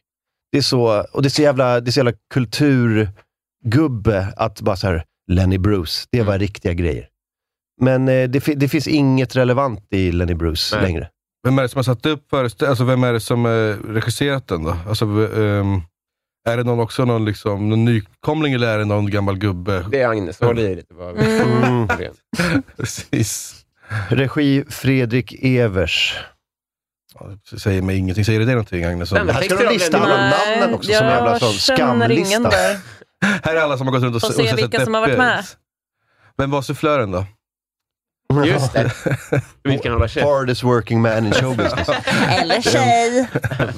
Det är så, och det är så jävla, det är så jävla kulturgubbe att bara så här, Lenny Bruce, det var Mm. riktiga grejer. Men eh, det, fi- det finns inget relevant i Lenny Bruce Nej. längre. Vem är det som har satt upp föreställningen? Alltså vem är det som eh, regisserat den då? Alltså, v- ehm, är det någon också någon, liksom, någon nykomling eller är det någon gammal gubbe? Det är Agnes. Håll i lite. Vad... Mm. Precis. Regi Fredrik Evers. Ja, det säger mig ingenting. Säger det dig någonting Agnes? Nej, men- Här ska Texter de av lista Lenny alla Bruce. namnen också, som Nej, jävla sån jag känner ingen skamlista. där. Här är alla som har gått runt och, Får s- se och sett vilka som har deppiga varit ut. Vem var sufflören då? Just det. Som inte kan hålla käft. Hardest working man in show business. Eller tjej.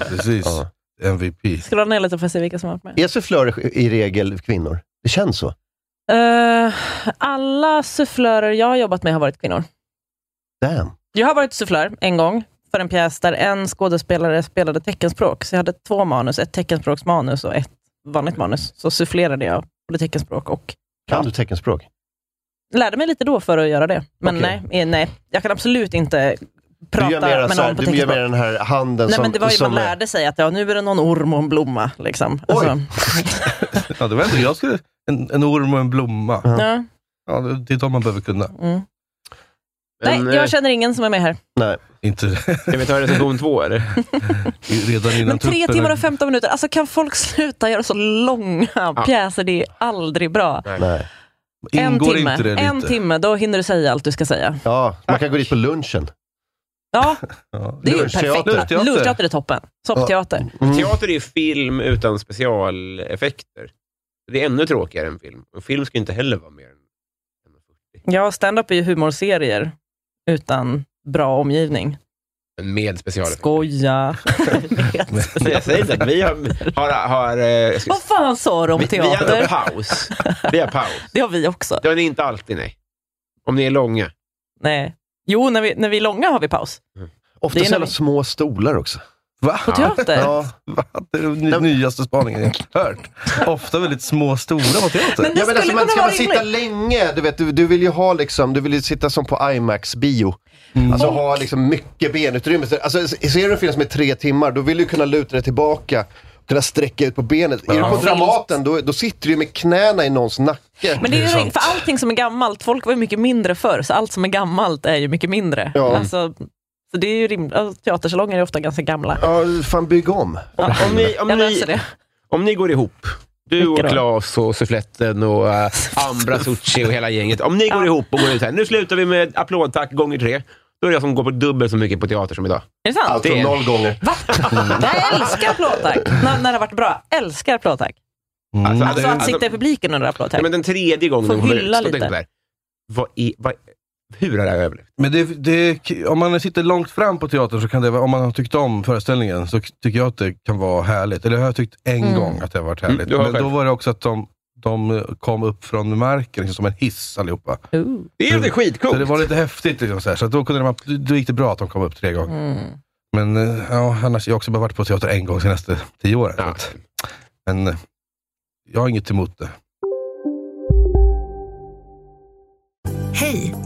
Precis. Ja. MVP. Scrolla ner lite för att se vilka som har varit med. är sufflörer i regel kvinnor? Det känns så. Eh, alla sufflörer jag har jobbat med har varit kvinnor. Damn. Jag har varit sufflör en gång för en pjäs där en skådespelare spelade teckenspråk. Så jag hade två manus, ett teckenspråksmanus och ett vanligt manus. Så sufflerade jag både teckenspråk och Kan du teckenspråk? lärde mig lite då för att göra det. Men Okej. nej, eh, nej, jag kan absolut inte Du prata gör mera, med så här, någon på du gör teckenspråk. mera den här handen Nej, som... men det var ju, som man lärde sig att ja, nu är det någon orm och en blomma. Liksom. Alltså, Ja, det var ändå, jag skulle, en, en orm och en blomma. ja. Ja, det det är de man behöver kunna. mm. Men, Nej, eh, jag känner ingen som är med här. Inte Ska vi ta recension två, eller? redan innan Men tre tuppen- timmar och 15 minuter, alltså kan folk sluta göra så långa pjäser? Det är aldrig bra. Nej. En Ingår timme. inte det lite? En timme, då hinner du säga allt du ska säga. Ja, man kan gå dit på lunchen. Ja, Ja. det är ju Lunchteater. Mm. perfekt. Lunchteater. Lunchteater är toppen. Soppteater. Teater är ju film utan specialeffekter. Det är ännu tråkigare än film. Och film ska inte heller vara mer än än 40. Ja, stand-up är ju humorserier utan bra omgivning. Men med specialeffekter. Skoja. Men jag säger inte att vi har... har, har eh, jag ska- Vad fan sa du om vi, vi har teater? paus. Vi har paus. Det har vi också. Det är inte alltid, nej. Om ni är långa. Nej. Jo, när vi, när vi är långa har vi paus. Ofta Det är så jävla när vi- små stolar också. Va? På teater? Ja. Va? Det är den ny- nyaste spaningen jag hört. Ofta väldigt små stora på teater. Men det Ja, men alltså, skulle man kunna ska vara man sitta rimligt. länge? Du, vet, du, du vill ju ha liksom, du vill ju sitta som på IMAX-bio. Mm. Alltså ha liksom mycket benutrymme. Så- Alltså, ser du en film som är tre timmar, då vill du kunna luta dig tillbaka och kunna sträcka ut på benet. Är du på Dramaten, då, då sitter du med knäna i någons nacke. Men det är ju för allting som är gammalt, folk var ju mycket mindre förr, så allt som är gammalt är ju mycket mindre. Ja. Alltså, så det är ju rimligt. Alltså, teatersalonger är ofta ganska gamla. Ja, fan bygg om. Om, om, ni, om, Jag löser ni, alltså det. om ni går ihop, du Vilka och då? Claes och Suffletten och eh, Ambra Succi och hela gänget. Om ni går ihop och går ut här, nu slutar vi med applådtack gånger tre. Då är det jag som går på dubbelt så mycket på teater som idag. Är det sant? Alltså det är- noll gånger. Va? Jag älskar plåtack. När, när det har varit bra. Älskar plåtack. Mm. Alltså att sitta i publiken under Ja, applådtack. men den tredje gången Får de kommer ut, hylla så tänkte lite. jag så här, vad är, vad, hur har det här överlevt? Men det, det, om man sitter långt fram på teatern, så kan det, vara- om man har tyckt om föreställningen, så tycker jag att det kan vara härligt. Eller jag har tyckt en Mm. gång att det har varit Mm, härligt. du har Men då själv. var det också att de, de eh, kom upp från marken liksom, som en hiss allihopa. Ooh. Det är ju inte skitcoolt. Så det var lite häftigt. Liksom, så här. så att då, kunde de, då gick det bra att de kom upp tre gånger. Mm. Men eh, ja, annars, jag har också bara varit på teater en gång de senaste tio åren. Så Ja. att, men eh, jag har inget emot det. Hej,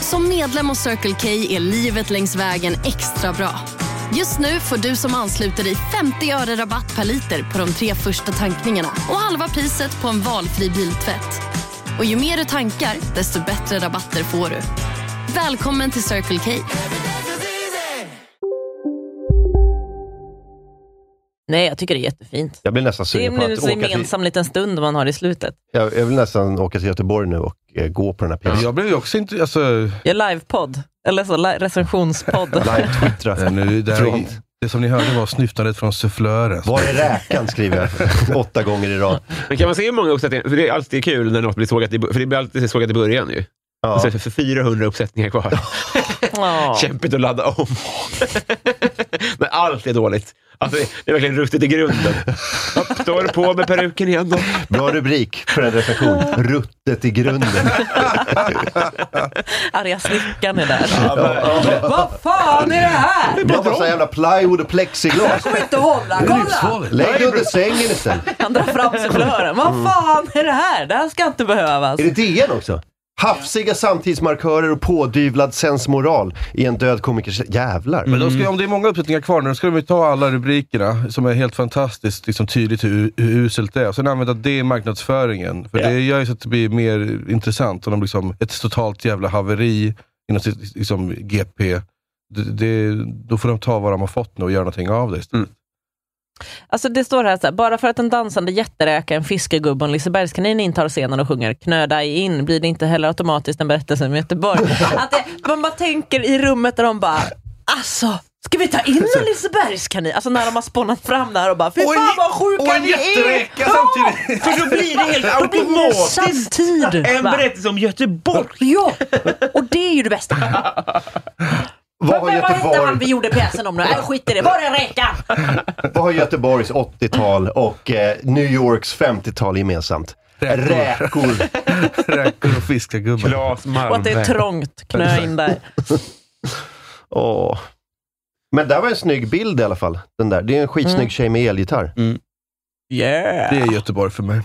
Som medlem hos Circle K är livet längs vägen extra bra. Just nu får du som ansluter dig 50 öre rabatt per liter på de tre första tankningarna och halva priset på en valfri biltvätt. Och ju mer du tankar, desto bättre rabatter får du. Välkommen till Circle K. Nej, jag tycker det är jättefint. Jag blir nästan Det är sugen på nu att en åka till, gemensam liten stund man har i slutet. jag, jag vill nästan åka till Göteborg nu och eh, gå på den här pjäsen. Jag blev ju också inte... Alltså, Jag livepodd. Eller så li- recensionspodd. eh, Mm. Live-twittra. nu, det, här, Tråkigt. det som ni hörde var snyftandet från sufflören. Var är räkan, skriver jag. Åtta gånger i rad. Men kan man se hur många uppsättningar, för det är alltid kul när något blir sågat i, bo- för det blir alltid sågat i början ju. Ja. Så för 400 uppsättningar kvar. Ja. Kämpigt att ladda om. Men allt är dåligt. Alltså, det är verkligen ruttet i grunden. Upp, Då är det på med peruken igen då. Bra rubrik för en recension. Ruttet i grunden. Arga snickaren är där. Vad fan är det Det här? var massa jävla plywood och plexiglas. Får inte hålla, kolla! Lägg dig under sängen istället. Han drar fram sufflören. Mm. Vad fan är det här? Det här ska inte behövas. Är det DN också? Hafsiga samtidsmarkörer och pådyvlad sensmoral i en död komikers... Jävlar. Men då ska, om det är många uppsättningar kvar nu, då ska de ju ta alla rubrikerna, som är helt fantastiskt liksom, tydligt hur, hur uselt det är, och sen använda det i marknadsföringen. För det gör ju så att det blir mer intressant. Om de liksom, ett totalt jävla haveri inom sitt liksom, GP, det, det, då får de ta vad de har fått nu och göra någonting av det istället. Alltså det står här, så här, bara för att en dansande jätteräka, en fiskegubbe och en lisebergskanin intar scenen och sjunger knö dig in blir det inte heller automatiskt en berättelse om Göteborg. Att det, man bara tänker i rummet där de bara, alltså Ska vi ta in en lisebergskanin? Alltså när de har spånat fram det här och bara, fy Och en fan j- vad sjuka ni är! samtidigt! För då blir det helt Då blir det samtid! En va? berättelse om Göteborg. Ja, och det är ju det bästa. Vad har Men vad hette Göteborg- han vi gjorde pjäsen om nu? Nej, skit i det. Var det en räka? Vad har Göteborgs 80-tal och eh, New Yorks 50-tal gemensamt? Räkor. Räkor och fiskargubbar. Claes Och att det är trångt. Knö in där. Åh. Men där var en snygg bild i alla fall. Den där. Det är en skitsnygg Mm. tjej med elgitarr. Yeah. Det är Göteborg för mig.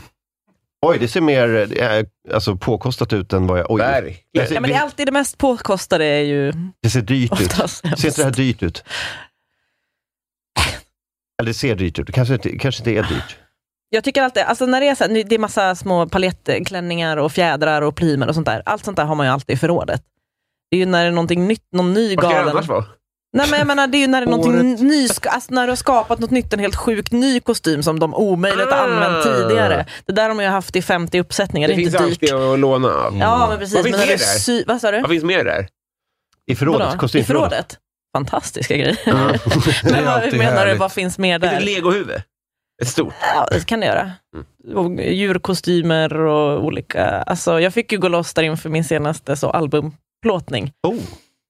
Oj, det ser mer eh, alltså, påkostat ut än vad jag... Oj. Det ser, Ja, men det är alltid det mest påkostade är ju det ser dyrt ut. oftast Ser inte det här dyrt ut? Eller det ser dyrt ut. Det kanske inte, kanske inte är dyrt. Jag tycker alltid, alltså när det är så här, nu- det är massa små palettklänningar och fjädrar och plymer och sånt där. Allt sånt där har man ju alltid i förrådet. Det är ju när det är någonting nytt, någon ny Vad ska det galen... annars vara? Nej men jag menar, det är ju när det är Året. någonting ny, alltså när du har skapat något nytt, en helt sjukt ny kostym som de omöjligt har använt tidigare. Det där har man ju haft i 50 uppsättningar, det, Ah. Det är finns inte dyrt. alltid att låna av. Ja men precis, Vad men finns när mer du där? sy... Vad sa du? Vad finns mer där? I förrådet? Vadå? I Kostymförrådet? förrådet? Fantastiska grejer. Det är men vad alltid menar du, härligt. vad finns mer Finns det där? ett legohuvud? Ett stort? Ja, det kan det göra. Mm. Och djurkostymer och olika. Alltså, jag fick ju gå loss där inför min senaste så, albumplåtning. Oh.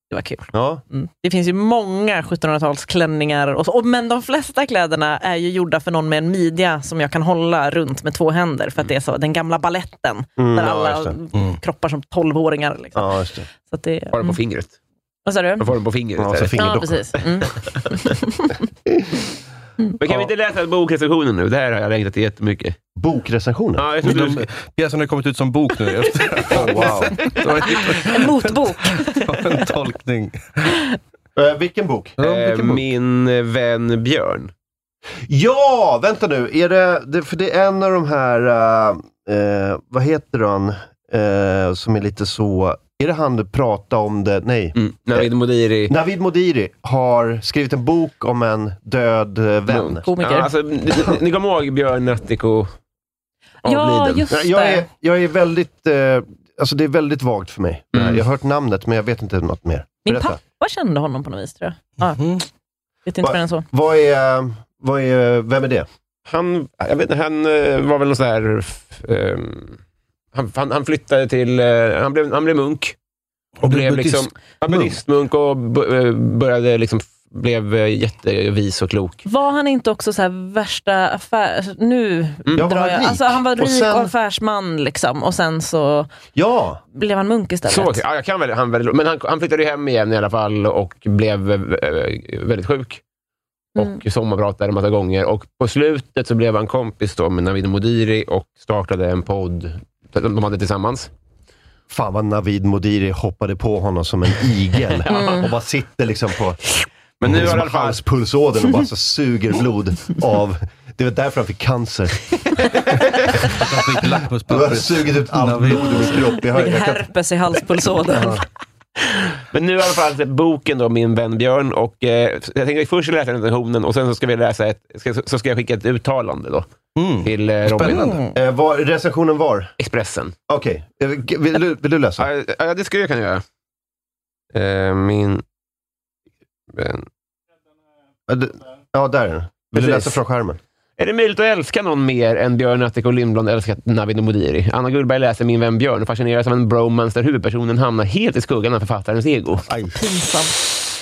Det var kul. Ja. Mm. Det finns ju många 1700-talsklänningar, och så, och, men de flesta kläderna är ju gjorda för någon med en midja som jag kan hålla runt med två händer, för att det är så, den gamla balletten Mm, där ja, alla just det. Mm. kroppar som 12-åringar. Liksom. Ja, just det. Så att det, Mm. Har den på fingret? vad sa du? Jag får den på fingret. Ja, där. så Ja, fingerdockor. precis. Mm. Men kan vi inte läsa bokrecensionen nu? Det här har jag längtat till jättemycket. eh, Bokrecensionen? Ja, jag trodde du De, skulle- pjäsen har kommit ut som bok nu. Efter. Oh, wow. Det var En motbok. en tolkning. Ehm, Eh, vilken bok? Ja, eh, vilken bok? min vän Björn. Ja, vänta nu. Är det, det, för det är en av de här, eh, eh, vad heter han, eh, som är lite så... Är det han du pratade om det? Nej. Mm. Navid Modiri. Navid Modiri har skrivit en bok om en död eh, vän. Komiker. Ja, alltså, ni, ni- ni kommer ihåg Björn Natthiko? Ja, Avliden. just Nej, det. Jag är, jag är väldigt... Eh, alltså det är väldigt vagt för mig. Mm. Jag har hört namnet, men jag vet inte något mer. Min Berätta. pappa kände honom på något vis, tror jag. Ja, Mm. vet inte Va- mer än så. Mhm. Vad är, eh, vad är... Vem är det? Mm. Han, jag vet, inte, han eh, var väl någon sån här... f- ehm, han, han, han flyttade till... eh, han, blev, han blev munk. Och blev blev liksom... ja, Munk. Buddhistmunk och bu- eh, började liksom... f- Blev eh, jättevis och klok. Var han inte också så här värsta affär... Nu Ja, var drar han jag... rik? Alltså, han var Och rik och, sen- affärsman liksom. Och sen så Ja! blev han munk istället. Så, ja, jag kan väl, han, väl- men han, han flyttade ju hem igen i alla fall och blev eh, väldigt sjuk. Mm. Och sommarpratade en massa gånger. Och på slutet så blev han kompis då med Navid Modiri och startade en podd. De de hade tillsammans. Fan vad Navid Modiri hoppade på honom som en igel. Mm. Och bara sitter liksom på... Men nu det har som i alla fall... halspulsådern och bara så suger blod av... Det var därför han fick cancer. Han fick Du har lackmuspappret. sugit ut allt Navid. blod ur min kropp. Jag, har- Min jag kan, herpes i halspulsådern. Men nu i alla fall så är boken då, Min vän Björn. Och, eh, jag tänkte först läsa recensionen och sen så ska, vi läsa ett, ska, så ska jag skicka ett uttalande då, Mm. till eh, Robin. Spännande. eh, var, recensionen var? Expressen. Okej, Eh, vill, du- vill du läsa? Ja, ja, det skulle jag kunna göra. Eh, min vän Ja, d- Eh, Ja, där är den. Vill du Precis. läsa från skärmen? Är det möjligt att älska någon mer än Björn Attic och Lindblad älskat Navid och Modiri? Anna Gullberg läser Min vän Björn och fascineras av en bromance där huvudpersonen hamnar helt i skuggan av författarens ego. Pinsamt.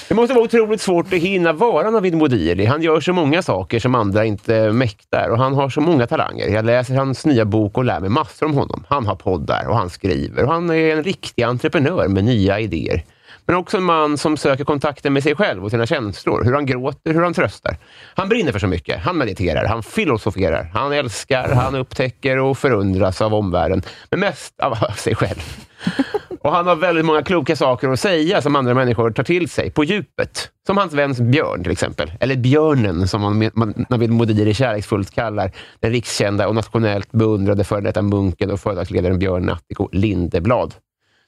Det måste vara otroligt svårt att hinna vara Navid Modiri. Han gör så många saker som andra inte mäktar och han har så många talanger. Jag läser hans nya bok och lär mig massor om honom. Han har poddar och han skriver och han är en riktig entreprenör med nya idéer. Men också en man som söker kontakten med sig själv och sina känslor. Hur han gråter, hur han tröstar. Han brinner för så mycket. Han mediterar, han filosoferar, han älskar, han upptäcker och förundras av omvärlden. Men mest av av sig själv. Och han har väldigt många kloka saker att säga som andra människor tar till sig på djupet. Som hans väns Björn till exempel. Eller Björnen som man, man, Navid Modiri kärleksfullt kallar den rikskända och nationellt beundrade före detta munken och företagsledaren Björn Nattiko Lindeblad.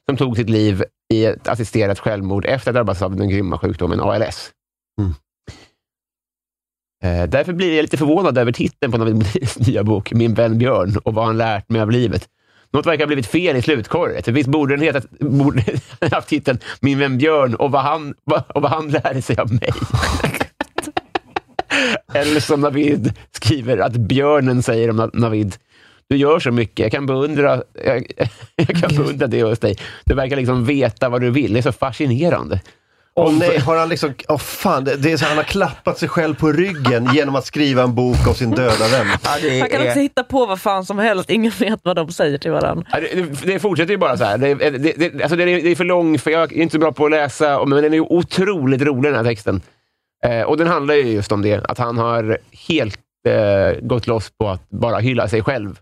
Som tog sitt liv i ett assisterat självmord efter att ha drabbats av den grymma sjukdomen ALS. Mm. Eh, Därför blir jag lite förvånad över titeln på Navid Modiris nya bok, Min vän Björn och vad han lärt mig av livet. Något verkar ha blivit fel i slutkorret. För Visst borde den hetat, borde den haft titeln Min vän Björn och vad han, vad- och vad han lärde sig av mig. Eller som Navid skriver, att björnen säger om Na- Navid, du gör så mycket, jag kan beundra, jag, jag kan beundra det hos dig. Du verkar liksom veta vad du vill, det är så fascinerande. Åh nej, har han liksom... Åh fan, det, det är så, han har klappat sig själv på ryggen genom att skriva en bok om sin döda vän. Man kan också hitta på vad fan som helst, ingen vet vad de säger till varandra. Ja, Det, det- det fortsätter ju bara så här. Det, det, det, alltså det, är- det är för lång, för jag är inte så bra på att läsa, men den är ju otroligt rolig den här texten. Eh, och den handlar ju just om det, att han har helt eh, gått loss på att bara hylla sig själv.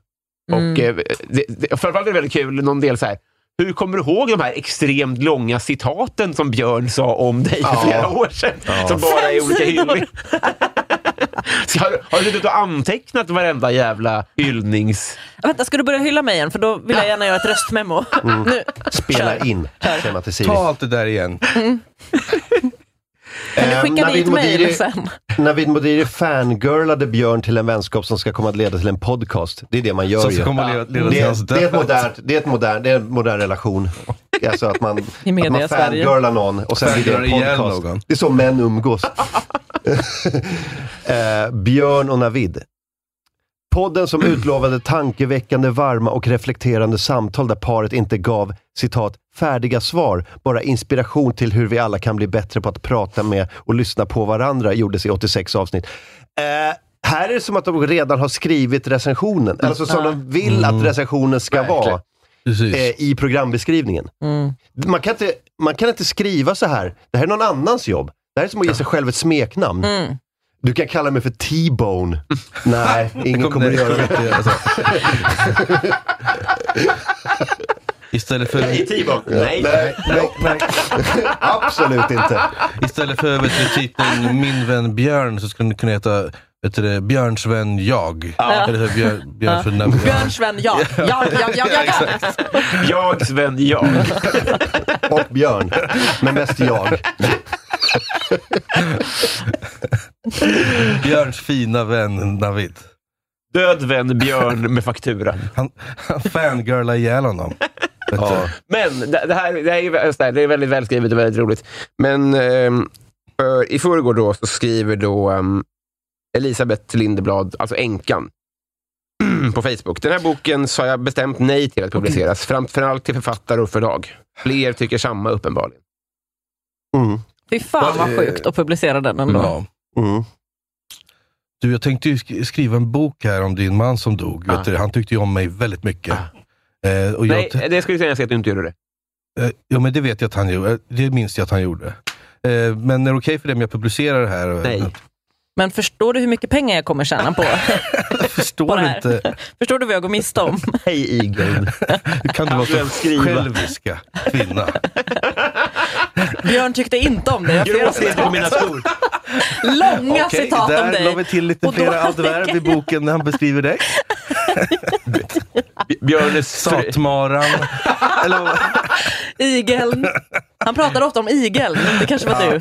Och Mm. eh, det, det, framförallt är det väldigt kul, någon del så här, hur kommer du ihåg de här extremt långa citaten som Björn sa om dig för Ja. flera år sedan? Ja. Som bara är Fem olika sidor. hyllningar. Så Har, har du suttit och antecknat varenda jävla hyllnings... Vänta, ska du börja hylla mig igen? För då vill jag gärna göra ett röstmemo. Mm. Nu. Spela in, säger man till Siri. Ta allt det där igen. Eller skicka Eh, Navid dit mejl Modiri- sen. Navid Modiri fangirlade Björn till en vänskap som ska komma att leda till en podcast. Det är det man gör Som ju. ska komma att leda- leda till hans Det, det, är ett död. modernt, det, är ett modern, det är en modern relation. Alltså att man, I att media man Sverige. fangirlar någon och sen blir det en Fangirlar ihjäl podcast. någon. Det är så män umgås. eh, Björn och Navid. Podden som utlovade tankeväckande, varma och reflekterande samtal där paret inte gav citat ”färdiga svar”, bara inspiration till hur vi alla kan bli bättre på att prata med och lyssna på varandra, gjordes i 86 avsnitt. Eh, här är det som att de redan har skrivit recensionen, eller så som de vill att Mm. recensionen ska vara Precis. eh, i programbeskrivningen. Man, kan inte, man kan inte skriva så här. Det här är någon annans jobb. Det här är som att ge sig själv ett smeknamn. Du kan kalla mig för T-Bone. Nej, ingen Kom- kommer att nej, göra kommer det. inte göra så. Istället för, T-Bone? Nej. Nej, nej, nej. Absolut inte. istället för vet du, titeln Min vän Björn så skulle den kunna heta vet du, det, Björns vän jag. Eller så, Björn, Björns vän Navid. Björn, Sven, jag. Jag, jag, jag, jag. jag. Jag, Sven, jag. Och Björn. Men mest jag. Björns fina vän Navid. Död vän Björn med fakturan. Han, han fangirlar ihjäl honom. Vet du. Ja. Men det, det här det här är, ju vä- så här, det är väldigt välskrivet och väldigt roligt. Men ehm, för, i förrgår då så skriver då ehm, Elisabeth Lindeblad, alltså änkan, på Facebook. Den här boken sa jag bestämt nej till att publiceras, framförallt till författare och förlag. Fler tycker samma uppenbarligen. Mm, Fy fan vad sjukt att publicera den ändå. Ja. mm. Du, jag tänkte ju sk- skriva en bok här om din man som dog. Ah. Vet du, han tyckte ju om mig väldigt mycket. Eh, och jag, Nej, det skulle jag säga att du inte gjorde det. Eh, Ja, men det vet jag att han gjorde. Eh, Det minns jag att han gjorde. Eh, Men är det okej för dig om jag publicerar det här? Nej. Men förstår du hur mycket pengar jag kommer tjäna på, Jag på förstår det här? inte. Förstår du vad jag går miste om? Hej Igel. Hur kan du vara så själviska kvinna? Björn tyckte inte om det. Jag har flera på mina skor. långa Okej, citat om där la vi dig. till lite Och då- flera adverb i boken när han beskriver dig. Björnes fru. Satmaran. Eller vad? Igeln. Han pratade ofta om igeln. Det kanske var du.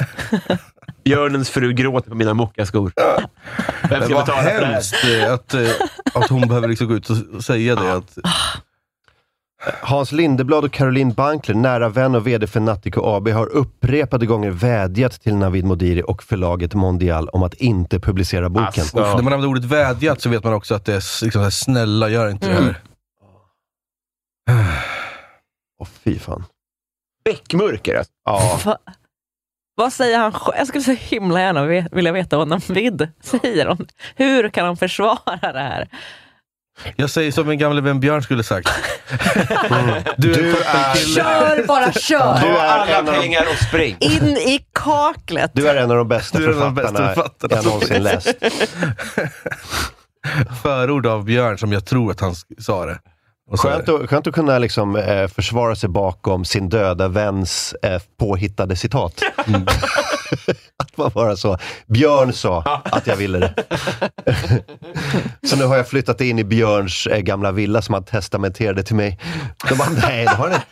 Björnens fru gråter på mina mockaskor. Vem Men ska vad betala för det här? hemskt eh, att, eh, att hon behöver liksom gå ut och och säga det. Att, Hans Lindeblad och Caroline Bankler, nära vän och VD för Nattico AB, har upprepade gånger vädjat till Navid Modiri och förlaget Mondial om att inte publicera boken. Alltså. När man använder ordet vädjat så vet man också att det är s- liksom, så här, snälla gör inte Mm. det här. Åh, fy fan. Bäckmörker alltså. Ja. Va, vad säger han själv? Jag skulle så himla gärna ve- vilja veta vad Navid säger om Hur kan han försvara det här? Jag säger som min gamle vän Björn skulle sagt. Du är en toppenkille. Kör, bara Du kör! Ta är alla en av- pengar och spring. In i kaklet! Du är en av de bästa Du är en av de bästa författarna författarna Alltså, jag som någonsin finns. läst. förord av Björn som jag tror att han sk- sa det. Och så Skönt här, att, skönt att kunna liksom, eh, försvara sig bakom sin döda väns eh, påhittade citat. Mm. att man bara så, Björn sa att jag ville det. så nu har jag flyttat in i Björns eh, gamla villa som han testamenterade till mig. De bara, nej det har ni inte.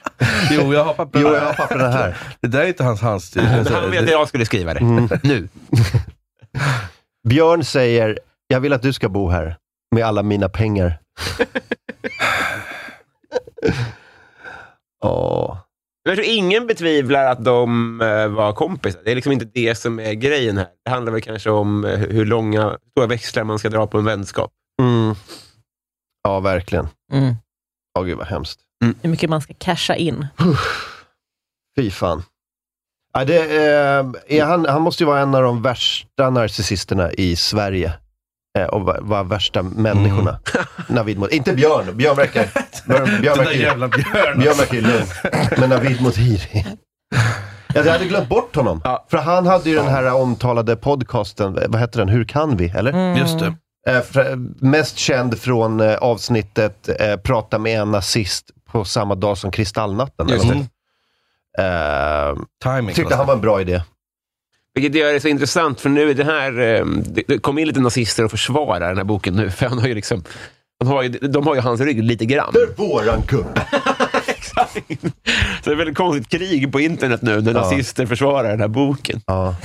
Jo, jag har papperna Jo, jag har papperna här. Det där är inte hans handstil. Alltså, Han ville att jag skulle skriva det. Mm. Nu. Björn säger, jag vill att du ska bo här med alla mina pengar. Åh. Jag tror ingen betvivlar att de eh, var kompisar. Det är liksom inte det som är grejen här. Det handlar väl kanske om eh, hur långa stora växlar man ska dra på en vänskap. Mm. Ja, verkligen. Mm. Ja, gud vad hemskt. Hur mycket man ska casha in. Fy fan. Ja, det, eh, är han, han måste ju vara en av de värsta narcissisterna i Sverige. Eh, och va- vara värsta människorna. Navid mot, inte Björn, Björn verkar... Björn, Björn verkar Den där jävla Björn. Björn verkar ju lugn. Men Navid mot Hiri. Jag hade glömt bort honom. För han hade ju den här omtalade podcasten, eh, vad hette den, Hur kan vi? Eller? Mm. Just det. Eh, fr- mest känd från eh, avsnittet eh, Prata med en nazist på samma dag som Kristallnatten. Just eller något sånt. Eh, Timing, alltså. tyckte han var en bra idé. Vilket gör det så intressant, för nu är det här... eh, Det, det kom in lite nazister och försvarar den här boken nu, för han har ju liksom... Han har ju, de har ju hans rygg lite grann. För våran kupp! Så det är väldigt konstigt krig på internet nu, när Ja. nazister försvarar den här boken. Ja.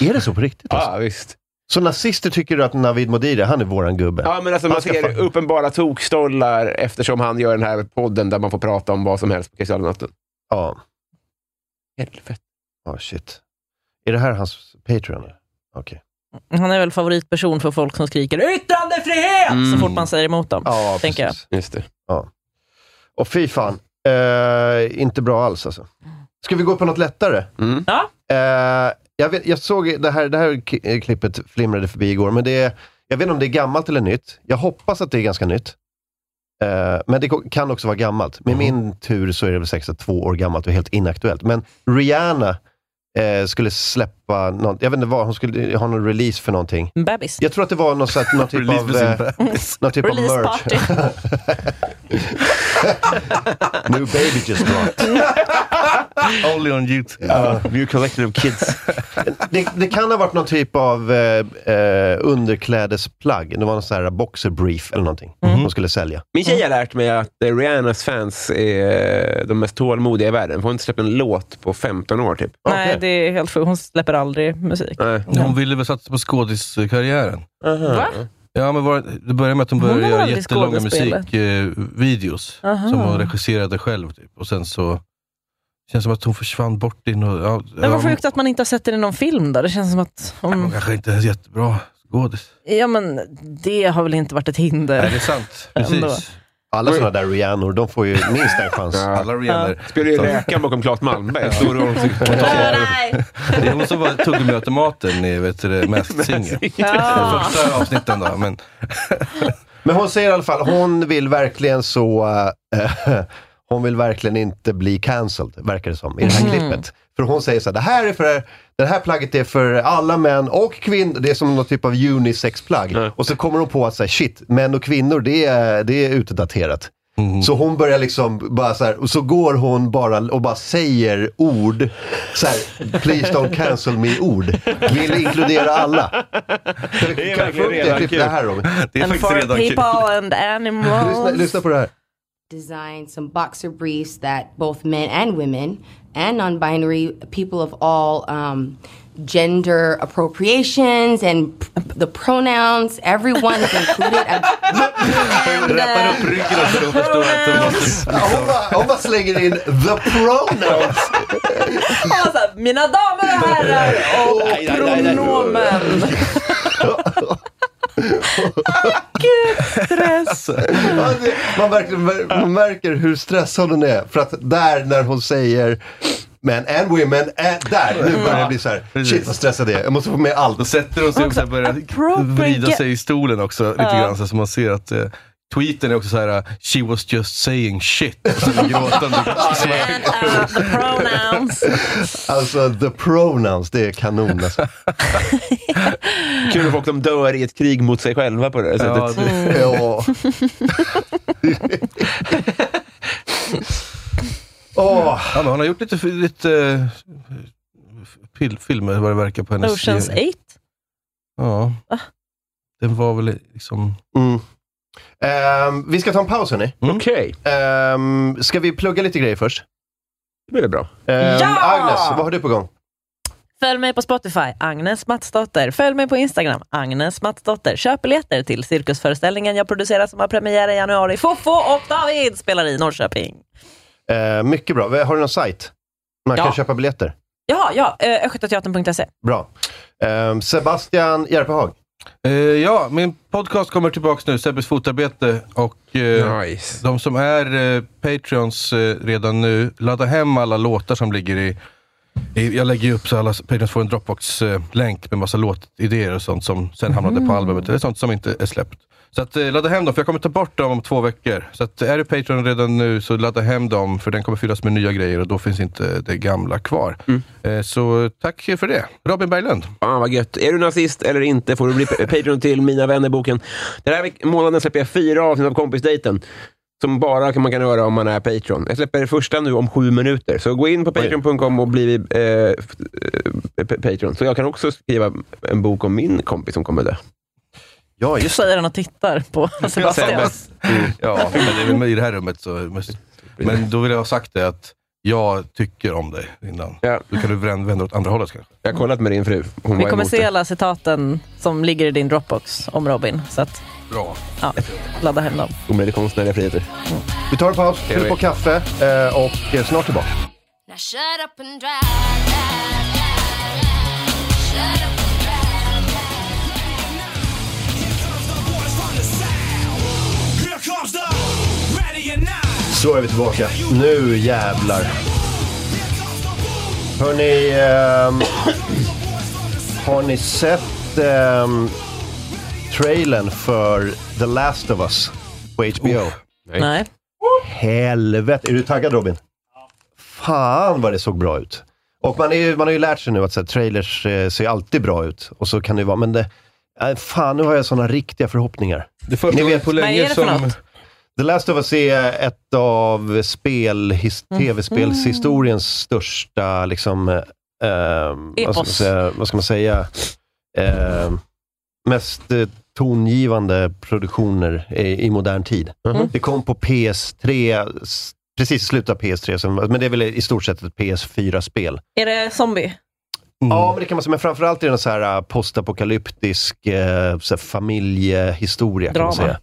är det så på riktigt? alltså? Ja, visst. Så nazister tycker att Navid Modiri, han är våran gubbe? Ja, men alltså, man Han ska ser fan- uppenbara tokstollar eftersom han gör den här podden där man får prata om vad som helst på Kristallnatten. Ja. Helvete. Ja, Oh, shit. Är det här hans Patreon? eller? Okej. Han är väl favoritperson för folk som skriker yttrandefrihet Mm. så fort man säger emot dem. Ja, tänker jag. precis. Just det. Ja. Och fy fan. Eh, inte bra alls alltså. Ska vi gå på något lättare? Mm. Ja. Eh, jag, vet, jag såg det här, det här k- eh, klippet flimrade förbi igår, men det är, jag vet inte om det är gammalt eller nytt. Jag hoppas att det är ganska nytt. Eh, men det ko- kan också vara gammalt. Med min tur så är det väl säkert två år gammalt och helt inaktuellt. Men Rihanna eh, skulle släppa, någon, jag vet inte vad, hon skulle ha någon release för någonting. En Bebis. Jag tror att det var någon, sån här- någon typ Release av... med sin Eh, bebis. någon typ Release av merch. party. New baby just dropped. Only on YouTube. New collection of kids. Det, det kan ha varit någon typ av eh, eh, underklädesplagg. Det var någon sån här boxer brief eller någonting. Mm. De skulle sälja. Min tjej har lärt mig att eh, Rihannas fans är de mest tålmodiga i världen. För hon har inte släppt en låt på 15 år typ. Nej, det är helt sjukt. Hon släpper aldrig musik. Nej. Hon ville väl satsa på skådiskarriären. Va? Ja, men var, det började med att hon Hon började har göra aldrig jättelånga skådespelat. musikvideos Aha. som hon regisserade själv. Typ. Och sen så känns det som att hon försvann bort i något... Ja, Det ja, var sjukt att man inte har sett det i någon film då. Det känns som att... hon Om, kanske inte är jättebra skådis. ja, men det har väl inte varit ett hinder. Nej, det är sant. Ändå. Precis. Alla sådana där Rihannor, de får ju minst en chans. Alla Rihanna. Spelar ju rökan bakom Claes Malmberg. Stororms Det är hon som var tuggummiautomaten i vet du, det, Masked Singer. Ja. Första avsnitten då. Men, Men hon säger i alla fall, hon vill verkligen så... eh, hon vill verkligen inte bli cancelled, verkar det som, i det här klippet. För hon säger så här, det här, är för, det här plagget är för alla män och kvinnor. Det är som någon typ av unisex-plagg. Och så kommer hon på att så här, shit, män och kvinnor, det är, det är utdaterat. Mm. Så hon börjar liksom bara så här, och så går hon bara och bara säger ord. Så här, please don't cancel me-ord. Vill inkludera alla. Kan vi- är kan vi verkligen få upp det redan klippet kul. här Robin? det är And faktiskt for redan kul. people and Lyssna, animals. lyssna på det här. designed some boxer briefs that both men and women and non-binary people of all um, gender appropriations and p- the pronouns everyone is included and, Rappar uh, upp ryggen och så förstår att de måste... Ja, Hon bara, hon bara slänger in the pronouns. Och så här, Mina damer och herrar och pronomen. Gud, stress. Ja, det- Man, verkligen, man märker hur stressad hon är. För att där när hon säger men and women, and, där, nu börjar det bli så här. Shit vad stressad jag är. Jag måste få med Då allt. sätter hon sig upp och börjar appropriate- vrida sig i stolen också lite grann. Så att man ser att eh, tweeten är också så här eh, “She was just saying shit” och så en gråtande svart. And uh, the pronouns. Alltså the pronouns, det är kanon alltså. Kul att folk som dör i ett krig mot sig själva på det här Ja, sättet. det, Mm. Ja. Åh, ja, men hon har gjort lite, lite eh, fil, filmer vad det verkar på hennes... Oceans 8. Ja. Den var väl liksom... mm. Ehm, vi ska ta en paus hörni. Okej, Um, ska vi plugga lite grejer först? det blir bra. Ehm, Ja! Agnes, vad har du på gång? Följ mig på Spotify, Agnes Matsdotter. Följ mig på Instagram, Agnes Matsdotter. Köp biljetter till cirkusföreställningen jag producerar som har premiär i januari. Fofo och David spelar i Norrköping. Ehm, mycket bra. Har du någon sajt? Man Ja. kan köpa biljetter. Ja, ja, eh, östgötateatern.se. Bra. Ehm, Sebastian Järpehag. Eh, ja, min podcast kommer tillbaka nu, Sebbes fotarbete. Och eh, Nice. de som är eh, Patreons eh, redan nu, ladda hem alla låtar som ligger i... i jag lägger ju upp så alla s- Patreons får en Dropbox-länk med massa låtidéer och sånt som sen hamnade på albumet. Det är sånt som inte är släppt. Så att, eh, ladda hem dem, för jag kommer ta bort dem om två veckor. Så att, är du Patreon redan nu, så ladda hem dem, för den kommer fyllas med nya grejer och då finns inte det gamla kvar. Eh, så tack för det. Robin Berglund. Fan vad gött. Är du nazist eller inte får du bli pa- Patreon till Mina vänner-boken. Den här veck- månaden släpper jag fyra avsnitt av Kompisdejten. Som bara kan- man kan höra om man är Patreon. Jag släpper det första nu om sju minuter. Så gå in på Patreon.com och bli eh, f- eh, pa- Patreon. Så jag kan också skriva en bok om min kompis som kommer dö. Ja, just Säger han och tittar på Sebastian. Mm. Ja, men det är väl i det här rummet så... måste- Men då vill jag ha sagt det att jag tycker om dig innan. Ja. Då kan du vrän- vända åt andra hållet kanske. Jag har kollat med din fru. Hon Vi var kommer emot se det. alla citaten som ligger i din Dropbox om Robin. Så att, Bra. ja, ladda hem dem. Omöjlig konstnärliga friheter. Vi tar en paus, fyller på kaffe eh, och eh, snart tillbaka. Now shut up and drive. drive, drive, drive. Shut up and drive, Så är vi tillbaka. Nu jävlar. Hörni, ehm, har ni sett ehm, trailern för The Last of Us på HBO? Nej. Helvete. Är du taggad Robin? Fan vad det såg bra ut. Och man, är ju, man har ju lärt sig nu att så här, trailers eh, ser alltid bra ut. Och så kan det ju vara, men det, eh, fan nu har jag sådana riktiga förhoppningar. Det första Ni Ni vet- vet, på Vad är länge det för som... något? The Last of Us är ett av spel, his, tv-spelshistoriens största, liksom, eh, ehm, vad, ska man Epos. säga, vad ska man säga, Ehm, mest eh, tongivande produktioner i, i modern tid. Det kom på PS3, s- precis i slutet av PS3, som, men det är väl i stort sett ett PS4-spel. Är det zombie? Mm. Ja, men det kan man säga. Men framförallt är det en så här eh, postapokalyptisk eh, så här familjehistoria. Kan man Drama. säga.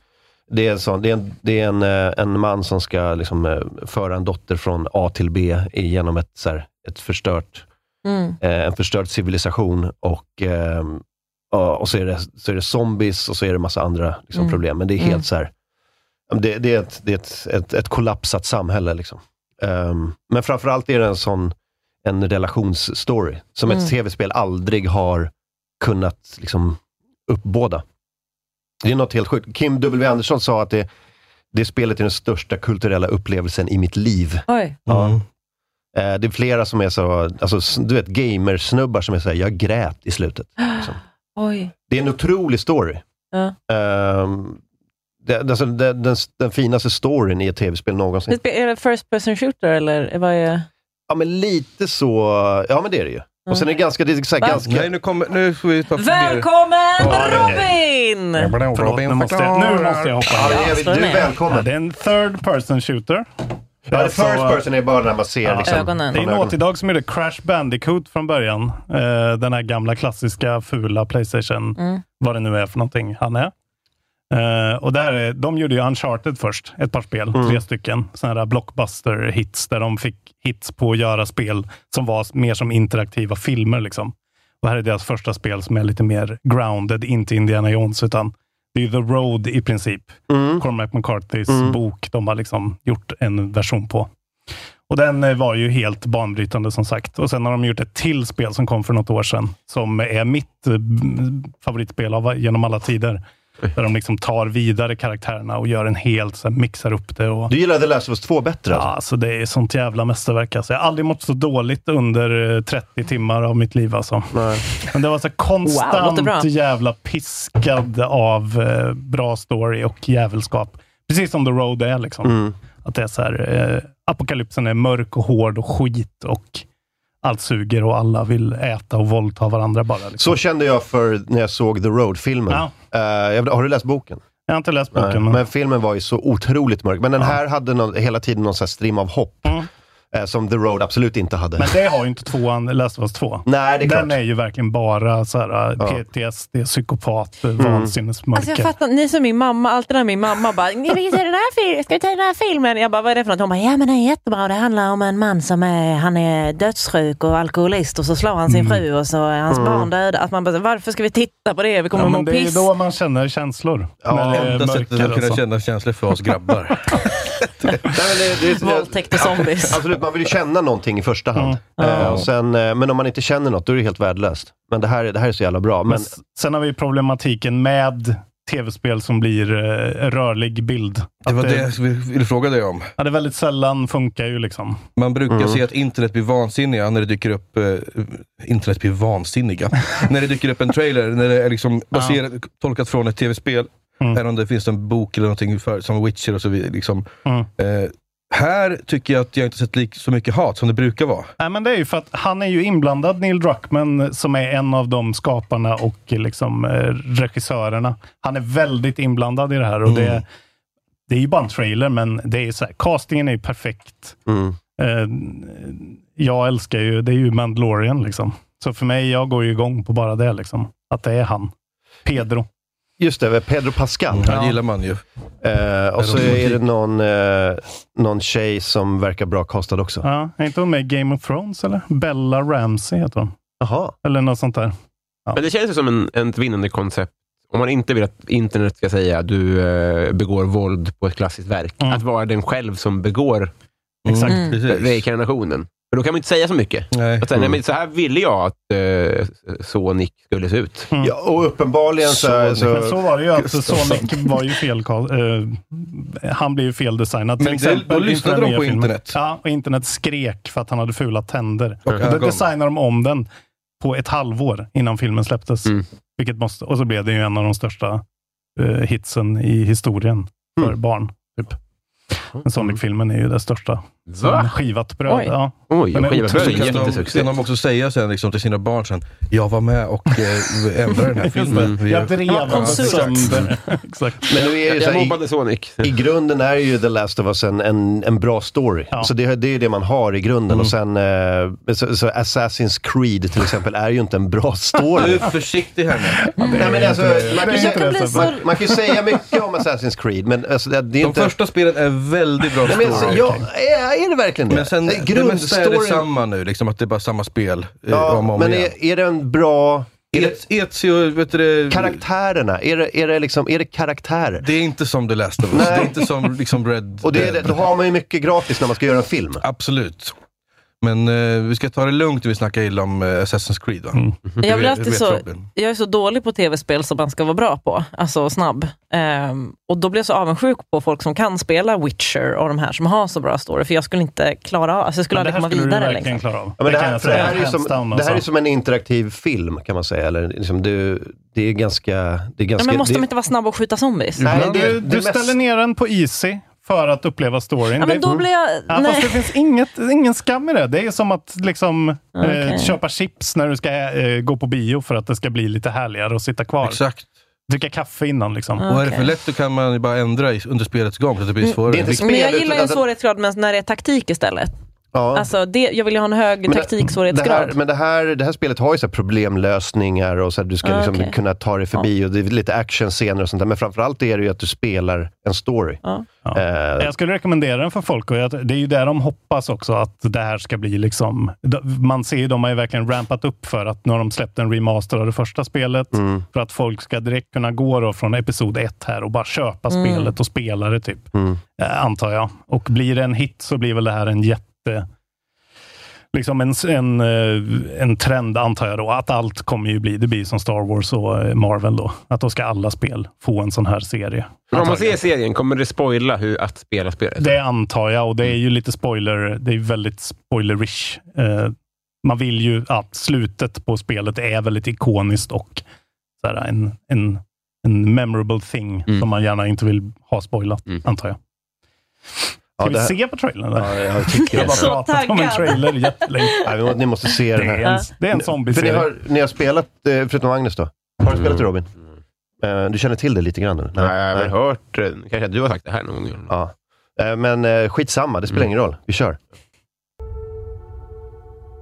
Det är, en sån, det är, en, det är en, eh, en man som ska liksom, eh, föra en dotter från A till B genom ett, så här, ett förstört, Mm. eh, en förstörd civilisation. Och, eh, ja, och så, är det, så är det zombies och så är det massa andra liksom, Mm. problem. Men det är helt Mm. så här, det, det är, ett, det är ett, ett, ett kollapsat samhälle. Liksom. Ehm, men framförallt är det en sån en relationsstory, som ett Mm. tv-spel aldrig har kunnat liksom, uppbåda. Det är något helt sjukt. Kim W. Andersson sa att det, det spelet är den största kulturella upplevelsen i mitt liv. Oj. Mm. Ja. Eh, Det är flera som är så, alltså, s- du vet gamersnubbar som är såhär, jag grät i slutet. Liksom. Oj. Det är en otrolig story. Ja. Ehm, det, alltså, det, den, den finaste storyn i ett tv-spel någonsin. Det- Är det first person shooter eller vad är Ja, men lite så, ja men det är det ju. Och sen är det ganska, det är så här, Mm. Va? ganska... Nej, nu kommer... Nu får vi... Välkommen Ja, det Robin! Förlåt, nu måste jag, nu måste jag hoppa. Ja, det är, du är Ja, välkommen. det är en third person shooter. Ja, Alltså, first person är bara när man ser Ja. liksom, Ögonen. Det är från Naughty Dog som gjorde Crash Bandicoot från början. Eh, den här gamla klassiska fula Playstation, vad det nu är för någonting han är. Eh, och där, är- de gjorde ju Uncharted först, ett par spel, tre stycken. Sådana där blockbuster-hits, där de fick hits på att göra spel som var mer som interaktiva filmer. Liksom. Och här är deras första spel som är lite mer grounded, inte Indiana Jones, utan det är ju The Road i princip. Cormac McCarthys bok de har liksom gjort en version på. Och den eh, var ju helt banbrytande som sagt. Och sen har de gjort ett till spel som kom för något år sedan, som är mitt eh, m- favoritspel av, genom alla tider. Där de liksom tar vidare karaktärerna och gör en helt, så här, mixar upp det. Och, Du gillade The Last of Us 2 bättre? ja, alltså? alltså det är sånt jävla mästerverk. Alltså. Jag har aldrig mått så dåligt under eh, 30 timmar av mitt liv. Alltså. Men det var Wow, så låter konstant bra. jävla piskad av eh, bra story och jävelskap. Precis som The Road är. Liksom. Mm. Att det är så här, eh, apokalypsen är mörk och hård och skit och allt suger och alla vill äta och våldta varandra bara. Liksom. Så kände jag för när jag såg The Road-filmen. Ja. Eh, jag- har du läst boken? Jag har inte läst Nej. boken. men- Men filmen var ju så otroligt mörk. Men den här hade någon, hela tiden någon så här strimma av hopp. eh, som The Road absolut inte hade. Men det har ju inte tvåan, Last of Us 2. Nej, det är Den klart. är ju verkligen bara så här, Ja. Mm. PTSD, psykopat, vansinnesmörker. Alltså jag fattar, ni är som min mamma, alltid när min mamma bara "Ni vill se den här fil- ska vi ta den här filmen? Jag bara, vad är det för något? Hon bara, ja men den är jättebra. Det handlar om en man som är, han är dödssjuk och alkoholist och så slår han sin fru och så är hans barn döda. Att man bara, varför ska vi titta på det? Vi kommer Ja, ja, men må det är piss. då man känner känslor. Ja, när det är Enda sättet mörker alltså. och att så. kunna känna känslor för oss grabbar. Nej, men det, det, det, Våldtäkt och zombies. Absolut, man vill ju känna någonting i första hand. Eh, och sen, eh, men om man inte känner något, då är det helt värdelöst. Men det här, är- det här är så jävla bra. Men Men, s- sen har vi problematiken med tv-spel som blir eh, rörlig bild. Det Att var det, det jag ville fråga dig om. Ja, det är väldigt sällan funkar ju liksom. Man brukar se att internet blir vansinniga när det dyker upp... Eh, internet blir vansinniga. när det dyker upp en trailer, när det är liksom baserat, tolkat från ett tv-spel. Mm. Eller om det finns en bok eller någonting för, som Witcher och så vidare. Liksom. Mm. Eh, här tycker jag att jag inte sett lik, så mycket hat som det brukar vara. Nej, men det är ju för att han är ju inblandad, Neil Druckmann, som är en av de skaparna och liksom, eh, regissörerna. Han är väldigt inblandad i det här. Och Mm. Mm. det, det är ju bara en trailer, men det är ju så här, castingen är ju perfekt. mm. Eh, jag älskar ju, det är ju Mandalorian liksom. Så för mig, jag går ju igång på bara det liksom. Att det är han. Pedro. Just det, Pedro Pascal. Det Mm. gillar man ju. Eh, och så Romantik. är det någon, eh, någon tjej som verkar bra kastad också. Ja, är inte hon med i Game of Thrones eller? Bella Ramsey heter hon. Jaha. Eller något sånt där. Men det känns ju som en, ett vinnande koncept. Om man inte vill att internet ska säga att du eh, begår våld på ett klassiskt verk. Mm. Att vara den själv som begår Exakt. Mm, precis. reinkarnationen. För då kan man inte säga så mycket. Nej. Mm. Att säga, nej, men så här ville jag att eh, Sonic skulle se ut. Ja, och uppenbarligen så... Så- så, Men så var det ju. Alltså, Gustafsson. Sonic var ju fel, eh, han blev ju feldesignad. Till Men det- exempel, då lyssnade inför den de nya på filmen. internet. Ja, och internet skrek för att han hade fula tänder. Och Då ögon. designade de om den på ett halvår innan filmen släpptes. Mm. Vilket måste, och så blev det ju en av de största eh, hitsen i historien för Mm. barn. Typ. Men Sonic-filmen är ju det största. Som Mm. Va? Skivat bröd. Oj. Ja. Oj, Men och skiva otroligt bröd är Kan en de, jättesuccé. kan de också säga sen liksom, till sina barn sen, jag var med och eh, ändrade Mm. den här filmen. Vi- Jag drev Ja, den konsult. sönder. Exakt. Men nu är det Jag, ju så jag här, i, mobbade Sonic. I grunden är ju The Last of Us en, en, en bra story. Ja. Så det, det är det man har i grunden. Och sen, eh, så, så Assassin's Creed till exempel är ju inte en bra Du story. är försiktig här nu. Nej, men alltså, man, kan, Jag kan bli ju- man, man kan ju säga mycket om Assassin's Creed, men alltså, det, det är De inte... första spelen är väldigt bra Nej, men, alltså, story. ja, är, är det verkligen det? Men sen, Eh, det mesta är det grundstoryn- samma nu, liksom, att det är bara samma spel eh, Ja, om och om men igen. är, är det en bra... Är det, Et- Ezio, vet du det, karaktärerna, är det, är det, liksom, är det karaktärer? det är inte som The Last of Us. Nej. Det är inte som liksom Red och det är, det- Dead. då har man ju mycket gratis när man ska göra en film. Absolut. Men eh, vi ska ta det lugnt när vi snackar illa om eh, Assassin's Creed. Va? Mm. Jag, blir vet- alltid vet så, Robin. jag är så dålig på tv-spel som man ska vara bra på, alltså snabb. Ehm, och då blir jag så avundsjuk på folk som kan spela Witcher och de här som har så bra story, för jag skulle inte klara av, alltså jag skulle Men det aldrig här komma skulle du vidare. verkligen Liksom. klara av. Ja, men det, kan här, jag för det, säga. här är ju som, Hands down det här är alltså. som en interaktiv film kan man säga. Eller, liksom, det, det är ganska... Det är Ja, ganska men måste det, Mm. de inte vara snabba och skjuta zombies? Nej, Men det- du, det du mest- ställer ner den på Easy för att uppleva Ja, storyn. men Det- Mm. då blir jag... Ja, fast det nej. finns inget, ingen skam i det. Det är som att liksom, eh, Okej. köpa chips när du ska eh, gå på bio för att det ska bli lite härligare och sitta kvar. Exakt. Dricka kaffe innan. Liksom. Och är det för lätt så kan man ju bara ändra i, under spelets gång så att det blir svårare. det är inte Men jag spel, gillar utan ju en att- svårighetsgrad men när det är taktik istället. ja. Alltså det, jag vill ju ha en hög Men det- Det här, taktiksvårighetsgrad. men det här, det här spelet har ju så här problemlösningar och så här, du ska Ah, liksom okej. kunna ta dig förbi och det är lite actionscener och sånt där. Men framförallt är det ju att du spelar en story. Ja. Ja. Eh, Jag skulle rekommendera den för folk. Och jag, det är ju där de hoppas också att det här ska bli liksom... d- Man ser ju, de har ju verkligen rampat upp för att nu har de släppt en remaster av det första spelet. För att folk ska direkt kunna gå då från episod ett här och bara köpa spelet och spela det, typ. Eh, antar jag. Och blir det en hit så blir väl det här en jätte... Liksom en, en, eh, en trend, antar jag då, att allt kommer ju bli, det blir som Star Wars och eh, Marvel då. Att då ska alla spel få en sån här serie. Men om man antagligen. ser serien, kommer det spoila hur att spela spelet? Det antar jag och det är Mm. ju lite spoiler. Det är ju väldigt spoilerish. Eh, man vill ju att slutet på spelet är väldigt ikoniskt och så här, en, en, en memorable thing Mm. som man gärna inte vill ha spoilat, Mm. antar jag. ja, Ska det vi här- se på trailern? Eller? Ja, jag tycker Jag det. har bara pratat om en taggad. trailer jättelänge. Nej, men ni måste se Det den här. är en, det är en För ni zombieserie. har, ni har spelat, eh, förutom Agnes då, har du spelat det Robin? Eh, Du känner till det lite grann? eller? Mm. Nej, jag har väl hört, eh, kanske att du har sagt det här någon gång. Mm. Ja. Eh, Men eh, skitsamma, det spelar ingen roll. Vi kör.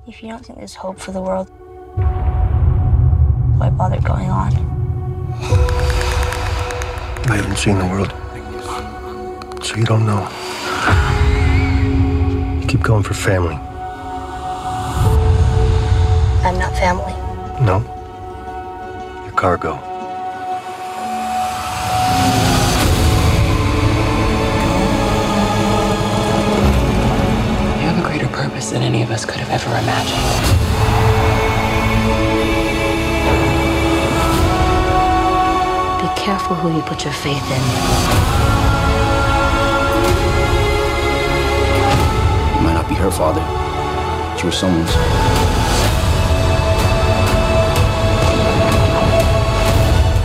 If you don't think there's hope for the world, why bother going on? I haven't seen the world. So you don't know. You keep going for family. I'm not family. No. Your cargo. You have a greater purpose than any of us could have ever imagined. Be careful who you put your faith in. You might not be her father, but you were someone's.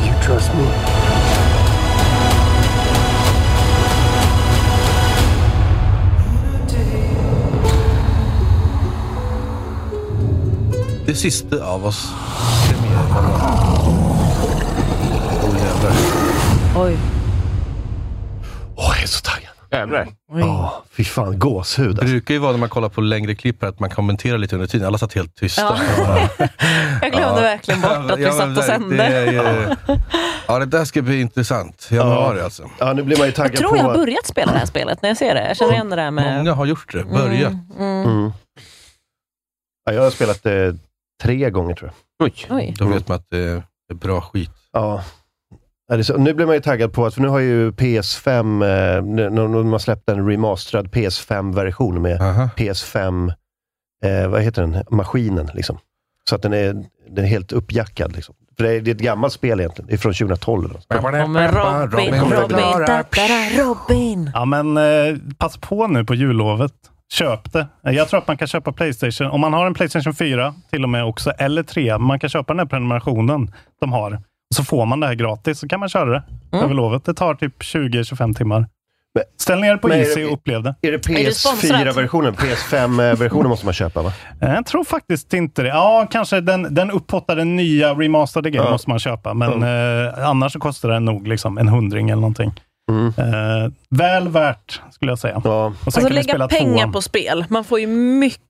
You trust me. Det sista av oss. Premiären. Åh jävlar. Oj. Åh, jag är så taggad. Jävlar. Ja, fy fan. Gåshud. Det brukar ju vara när man kollar på längre klipp här att man kommenterar lite under tiden. Alla satt helt tysta. Ja. Jag glömde verkligen bort att vi Ja, satt men och verkligen, sände. det är- Ja, det där ska bli intressant. Januari alltså. Ja, nu blir man ju Jag tror jag har börjat spela det här spelet när jag ser det. Jag känner igen det där med... Många har gjort det. Börjat. Mm. Mm. Ja, jag har spelat eh, tre gånger, tror jag. Oj. Då vet man att det är bra skit. Ja. Ja, det är så. Nu blir man ju taggad på att, för nu har ju PS5, eh, nu- nu nu har man släppt en remasterad PS5-version med PS5, eh, vad heter den, maskinen. Liksom. Så att den är, den är helt uppjackad. Liksom. För det, är, det är ett gammalt spel egentligen, det är från 2012. Kommer Robin, Kommer Robin, förklara. da-da-da, Robin. Ja, men eh, passa på nu på jullovet. Köp det. Eh, Jag tror att man kan köpa Playstation, om man har en Playstation 4 till och med också, eller 3, man kan köpa den här prenumerationen de har. Så får man det här gratis, så kan man köra det Mm. över lovet. Det tar typ 20-25 timmar. Ställ ner det på men är Easy det- och upplev det. Är det PS4-versionen? PS5-versionen eh, måste man köpa, va? Eh, Jag tror faktiskt inte det. Ja, kanske den, den upphottade nya remasterade grejen måste man köpa, men eh, annars så kostar den nog liksom en hundring eller någonting. Mm. Eh, väl värt, skulle jag säga. Och sen Alltså kan vi spela lägga pengar tvåan. på spel. Man får ju mycket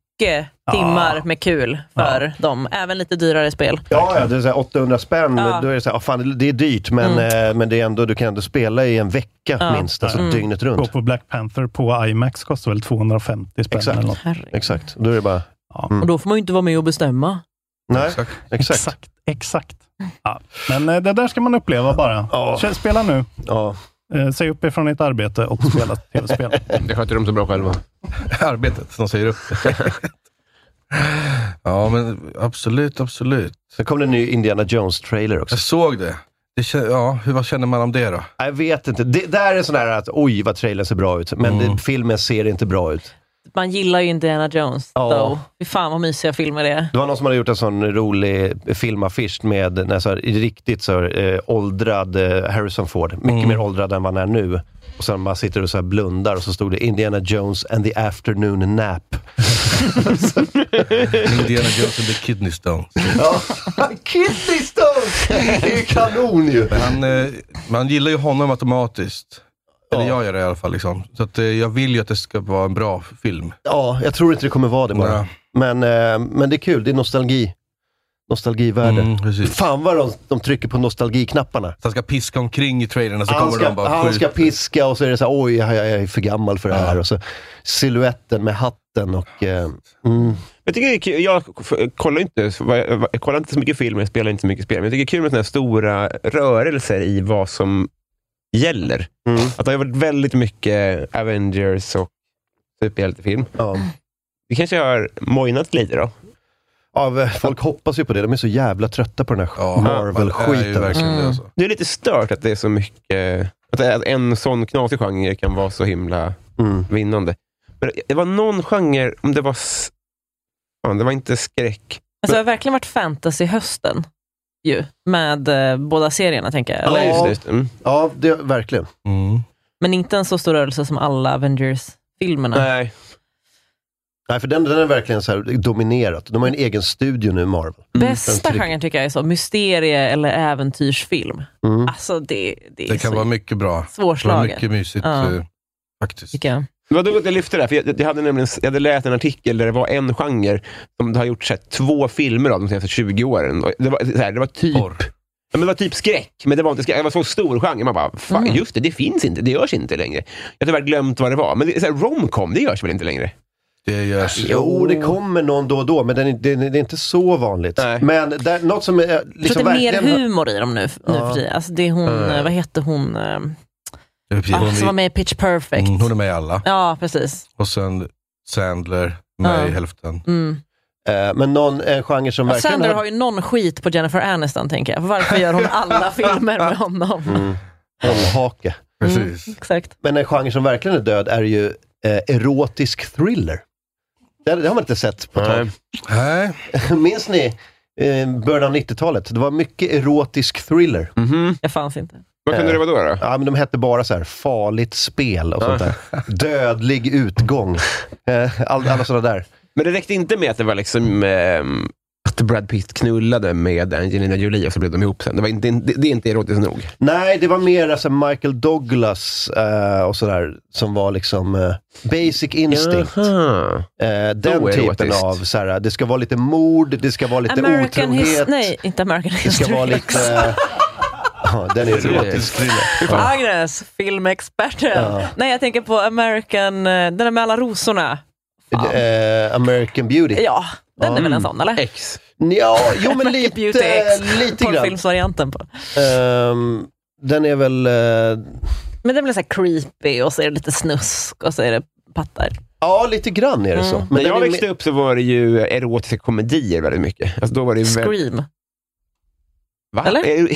timmar med kul för dem. Även lite dyrare spel. Ja, ja, det är så här 800 spänn. Ja. Då är det så här, ah, fan, det är dyrt, men, eh, men det är ändå, du kan ändå spela i en vecka Mm. Ja. minst, alltså Mm. dygnet runt. Gå på Black Panther på IMAX kostar väl 250 spänn Exakt. eller något. Exakt, då är det bara... Mm. Och då får man ju inte vara med och bestämma. Nej, exakt. Exakt. exakt. Ja. Men eh, det där ska man uppleva bara. Kör- Spela nu. Ja. Eh, säg upp er från ditt arbete och spela ett tv-spel. Det sköter de så bra själva. Arbetet, de säger upp. ja, men absolut, absolut. Sen kom det en ny Indiana Jones-trailer också. Jag såg det. det kä- ja, hur, vad känner man om det då? Jag vet inte. Det där är sån här att oj vad trailern ser bra ut, men det, filmen ser inte bra ut. Man gillar ju Indiana Jones, Ja. though. Fy fan vad mysiga filmer det är. Alltså, Det var någon som hade gjort en sån rolig filmaffisch med när så här, riktigt så här, eh, åldrad eh, Harrison Ford. Mycket Mm. mer åldrad än vad han är nu. Och sen bara sitter och så här blundar och så stod det Indiana Jones and the afternoon nap. Indiana Jones and the Kidney Stones. Kidney Stones! Det är ju kanon ju! Men han, eh, man gillar ju honom automatiskt. Eller jag gör det i alla fall. Liksom. Så att, eh, jag vill ju att det ska vara en bra film. Ja, jag tror inte det kommer vara det bara. Nej. Men, eh, men det är kul. Det är nostalgi. Nostalgivärde. Mm, precis. Fan vad de, de trycker på nostalgiknapparna. Så han ska piska omkring i trailern och så han kommer ska, de bara han ska skjuta. piska och så är det så här, oj, jag, jag är för gammal för det här. Och så siluetten med hatten och... Eh, mm. Jag, tycker det är kul. jag f- kollar inte, så- vad jag vad- jag kollar inte så mycket film, jag spelar inte så mycket spel, men jag tycker det är kul med såna här stora rörelser i vad som gäller. Att det har varit väldigt mycket Avengers och superhjältefilm. Ja. Vi kanske har mojnat lite då? Ja, folk hoppas ju på det. De är så jävla trötta på den här Ja, man är ju Marvel-skiten. verkligen det, alltså. Det är lite stört att det är så mycket... Att att en sån knasig genre kan vara så himla Mm. vinnande. Men det- det var någon genre, om det var... s- Fan, det var inte skräck. Alltså, det har verkligen varit fantasy-hösten. Ju, med eh, båda serierna, tänker jag. Ja, Eller? just det. Just det. Mm. Ja, det, verkligen. Mm. Men inte en så stor rörelse som alla Avengers-filmerna. Nej. Nej, för den, den är verkligen så här dominerat. De har ju en egen studio nu, Marvel. Bästa genren tycker jag är så, mysterie eller äventyrsfilm. Mm. Alltså det, det är Det kan så vara mycket bra. svårslaget. Det var mycket mysigt Ja. eh, faktiskt. Tycker jag. Vad du att jag lyfte det här, för jag, jag, hade nämligen, jag hade läst en artikel där det var en genre som det har gjort så här, två filmer av de senaste 20 åren. Och Det var, så här, det var typ... Ja, men det var typ skräck, men det var inte skräck. Det var så stor genre. Man bara, fan, Mm. just det, det finns inte. Det görs inte längre. Jag har tyvärr glömt vad det var. Men det, är så här, romcom, det görs väl inte längre? Det görs. Jo, det kommer någon då och då, men den är, det, det är inte så vanligt. Men där, något som... är, eh, Jag Liksom tror att det är mer verkligen- humor i dem nu, nu Ja. för tiden. Alltså det är hon, Mm. vad heter hon, eh, precis. ah, Hon som är- var med i Pitch Perfect? Mm, Hon är med i alla. Ja, precis. Och sen Sandler med Ja. i hälften. Mm. Eh, Men någon en genre som Och verkligen... Sandler har ju någon skit på Jennifer Aniston, tänker jag. För Varför gör hon alla filmer med honom? Mm. Hållhake. Precis. Exakt. Men en genre som verkligen är död är ju eh, erotisk thriller. Det, det har man inte sett på ett tag. Nej. Minns ni eh, början av 90-talet? Det var mycket erotisk thriller. Mm-hmm. Jag fanns inte. Vad kunde det vara då? då? Ja, men de hette bara så här, farligt spel och sånt där. Dödlig utgång. Eh, All, alla sådana där. Men det räckte inte med att det var liksom... ehm, att Brad Pitt knullade med Angelina Jolie och så blev de ihop sen. Det, var inte, det, det är inte erotiskt nog. Nej, det var mer alltså Michael Douglas eh, och sådär, som var liksom eh, Basic Instinct. Eh, den Då typen erotiskt. av, så här, det ska vara lite mord, det ska vara lite American his, otrohet. Nej, inte American det ska History. vara lite... eh, ja, den är erotisk. Ja. Agnes, filmexperten. Ja. Nej, jag tänker på American, eh, den där med alla rosorna. Eh, American Beauty. Ja, den är Ja. Mm. väl en sån, eller? X. Ja, jo men lite, Beauty X. lite grann. Porrfilmsvarianten på. Ehm, den är väl... eh, Men den blir så här creepy och så är det lite snusk och så är det pattar. ja, lite grann är det Mm. så. När den jag är växte upp så var det ju erotiska komedier väldigt mycket. Alltså då var det ju väl- Scream. Va? Eller? Är-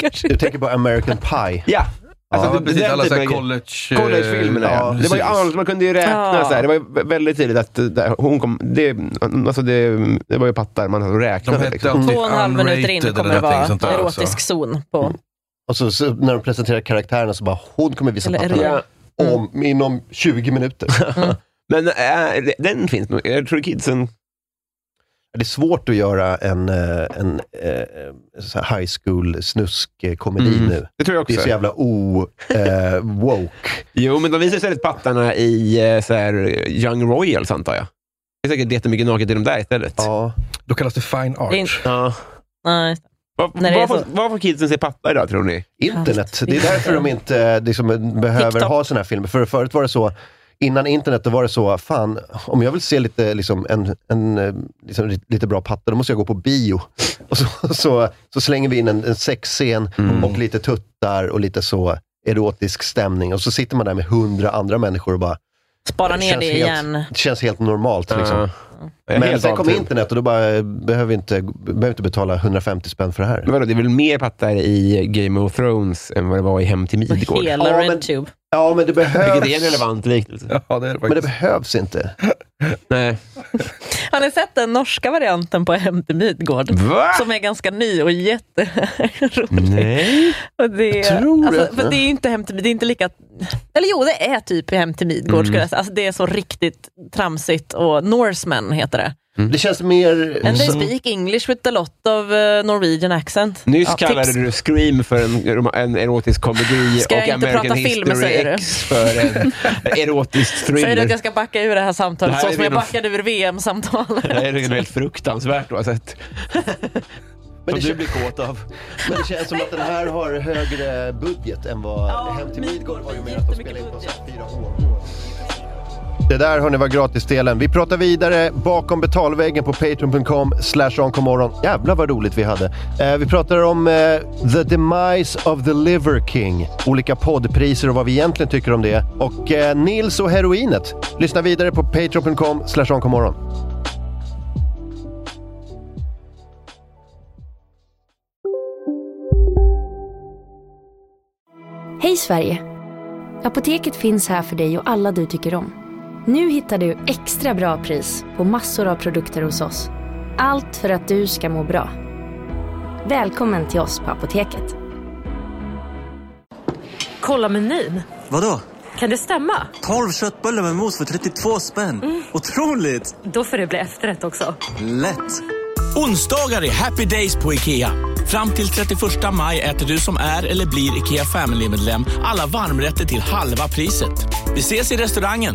Kanske. Du tänker på American Pie. Ja. Alltså, ja, det- precis. den Alla så här typen av- college... eh, Collegefilmerna, ja. Det var ju precis. allt, man kunde ju räkna. Ja. Så här. Det var ju vä- väldigt tydligt att eh, där, hon kom... Det, alltså det, det var ju pattar man räknade. De hette liksom. alltid Två och en halv minut in unrated kommer det eller någonting vara sånt där. erotisk Så. zon på. Och så, så när de presenterar karaktärerna så bara, hon kommer visa Eller Mm. är papperna det- om, inom 20 minuter. Men äh, den finns nog. Jag tror kidsen... Det är svårt att göra en, eh, en, eh, så här high school snusk-komedi Mm. nu. Det tror jag Det är också. så jävla eh, o-woke. Jo, men de visar istället pattarna i eh, så här, Young Royals, antar jag. Det är säkert jättemycket naket i de där istället. ja. Då kallas det fine art. Det är inte, Ja. nej. Var, När det är varför, så- varför får kidsen se pattar idag, tror ni? Internet. Det är därför de inte eh, liksom, behöver TikTok. ha såna här filmer. För förut var det så, innan internet, då var det så, fan, om jag vill se lite, liksom, en, en, eh, liksom, li- lite bra patta, då måste jag gå på bio. Och så, så, så slänger vi in en, en sexscen Mm. och lite tuttar och lite så erotisk stämning. Och så sitter man där med hundra andra människor och bara, Spara ner känns det helt- igen. det känns helt normalt. Liksom. Ja. Jag är Men helt sen av kom till- internet och då bara, eh, behöver vi inte, behöver inte betala 150 spänn för det här. Men vadå, det är väl mer pattar i Game of Thrones än vad det var i Hem till Midgård? Vilket Hela Ja, men- RedTube. Ja, men det är en behövs, relevant liknelse. Ja, det är det men det faktiskt. behövs inte. Nej. Har ni sett den norska varianten på Hem till Midgård? Va? Som är ganska ny och jätterolig. Nej. Och det, Jag tror alltså, att- för det är ju inte hem till, det är inte lika... Eller jo, det är typ Hem till Midgård skulle jag säga. Alltså, det är så riktigt tramsigt och Norseman heter det. Mm. Det känns mer... And they som- speak English with a lot of eh, Norwegian accent. Nyss Ja, kallade tips. du Scream för en, en erotisk komedi Ska jag och inte American prata History film, säger du? X för en erotisk Säger du att jag thriller. ska backa ur det här samtalet Det här så är som jag redan- backade ur VM-samtalet? Det här är ju helt fruktansvärt du har sett. Men det, Som du kän- men det känns som att den här har högre budget än vad Hem till Midgård har ju med att de spelar in på så här fyra år. Det där hörni var gratisdelen. Vi pratar vidare bakom betalväggen på patreon.com slash onkomorron. Jävlar vad roligt vi hade. Eh, vi pratar om eh, the demise of the liver king. Olika poddpriser och vad vi egentligen tycker om det. Och eh, Nils och heroinet. Lyssna vidare på patreon.com slash onkomorron. Hej Sverige! Apoteket finns här för dig och alla du tycker om. Nu hittar du extra bra pris på massor av produkter hos oss. Allt för att du ska må bra. Välkommen till oss på Apoteket. Kolla menyn. Vadå? Kan det stämma? 12 köttbullar med mos för 32 spänn. Mm. Otroligt! Då får det bli efterrätt också. Lätt! Onsdagar är happy days på IKEA. Fram till 31 maj äter du som är eller blir IKEA Family-medlem alla varmrätter till halva priset. Vi ses i restaurangen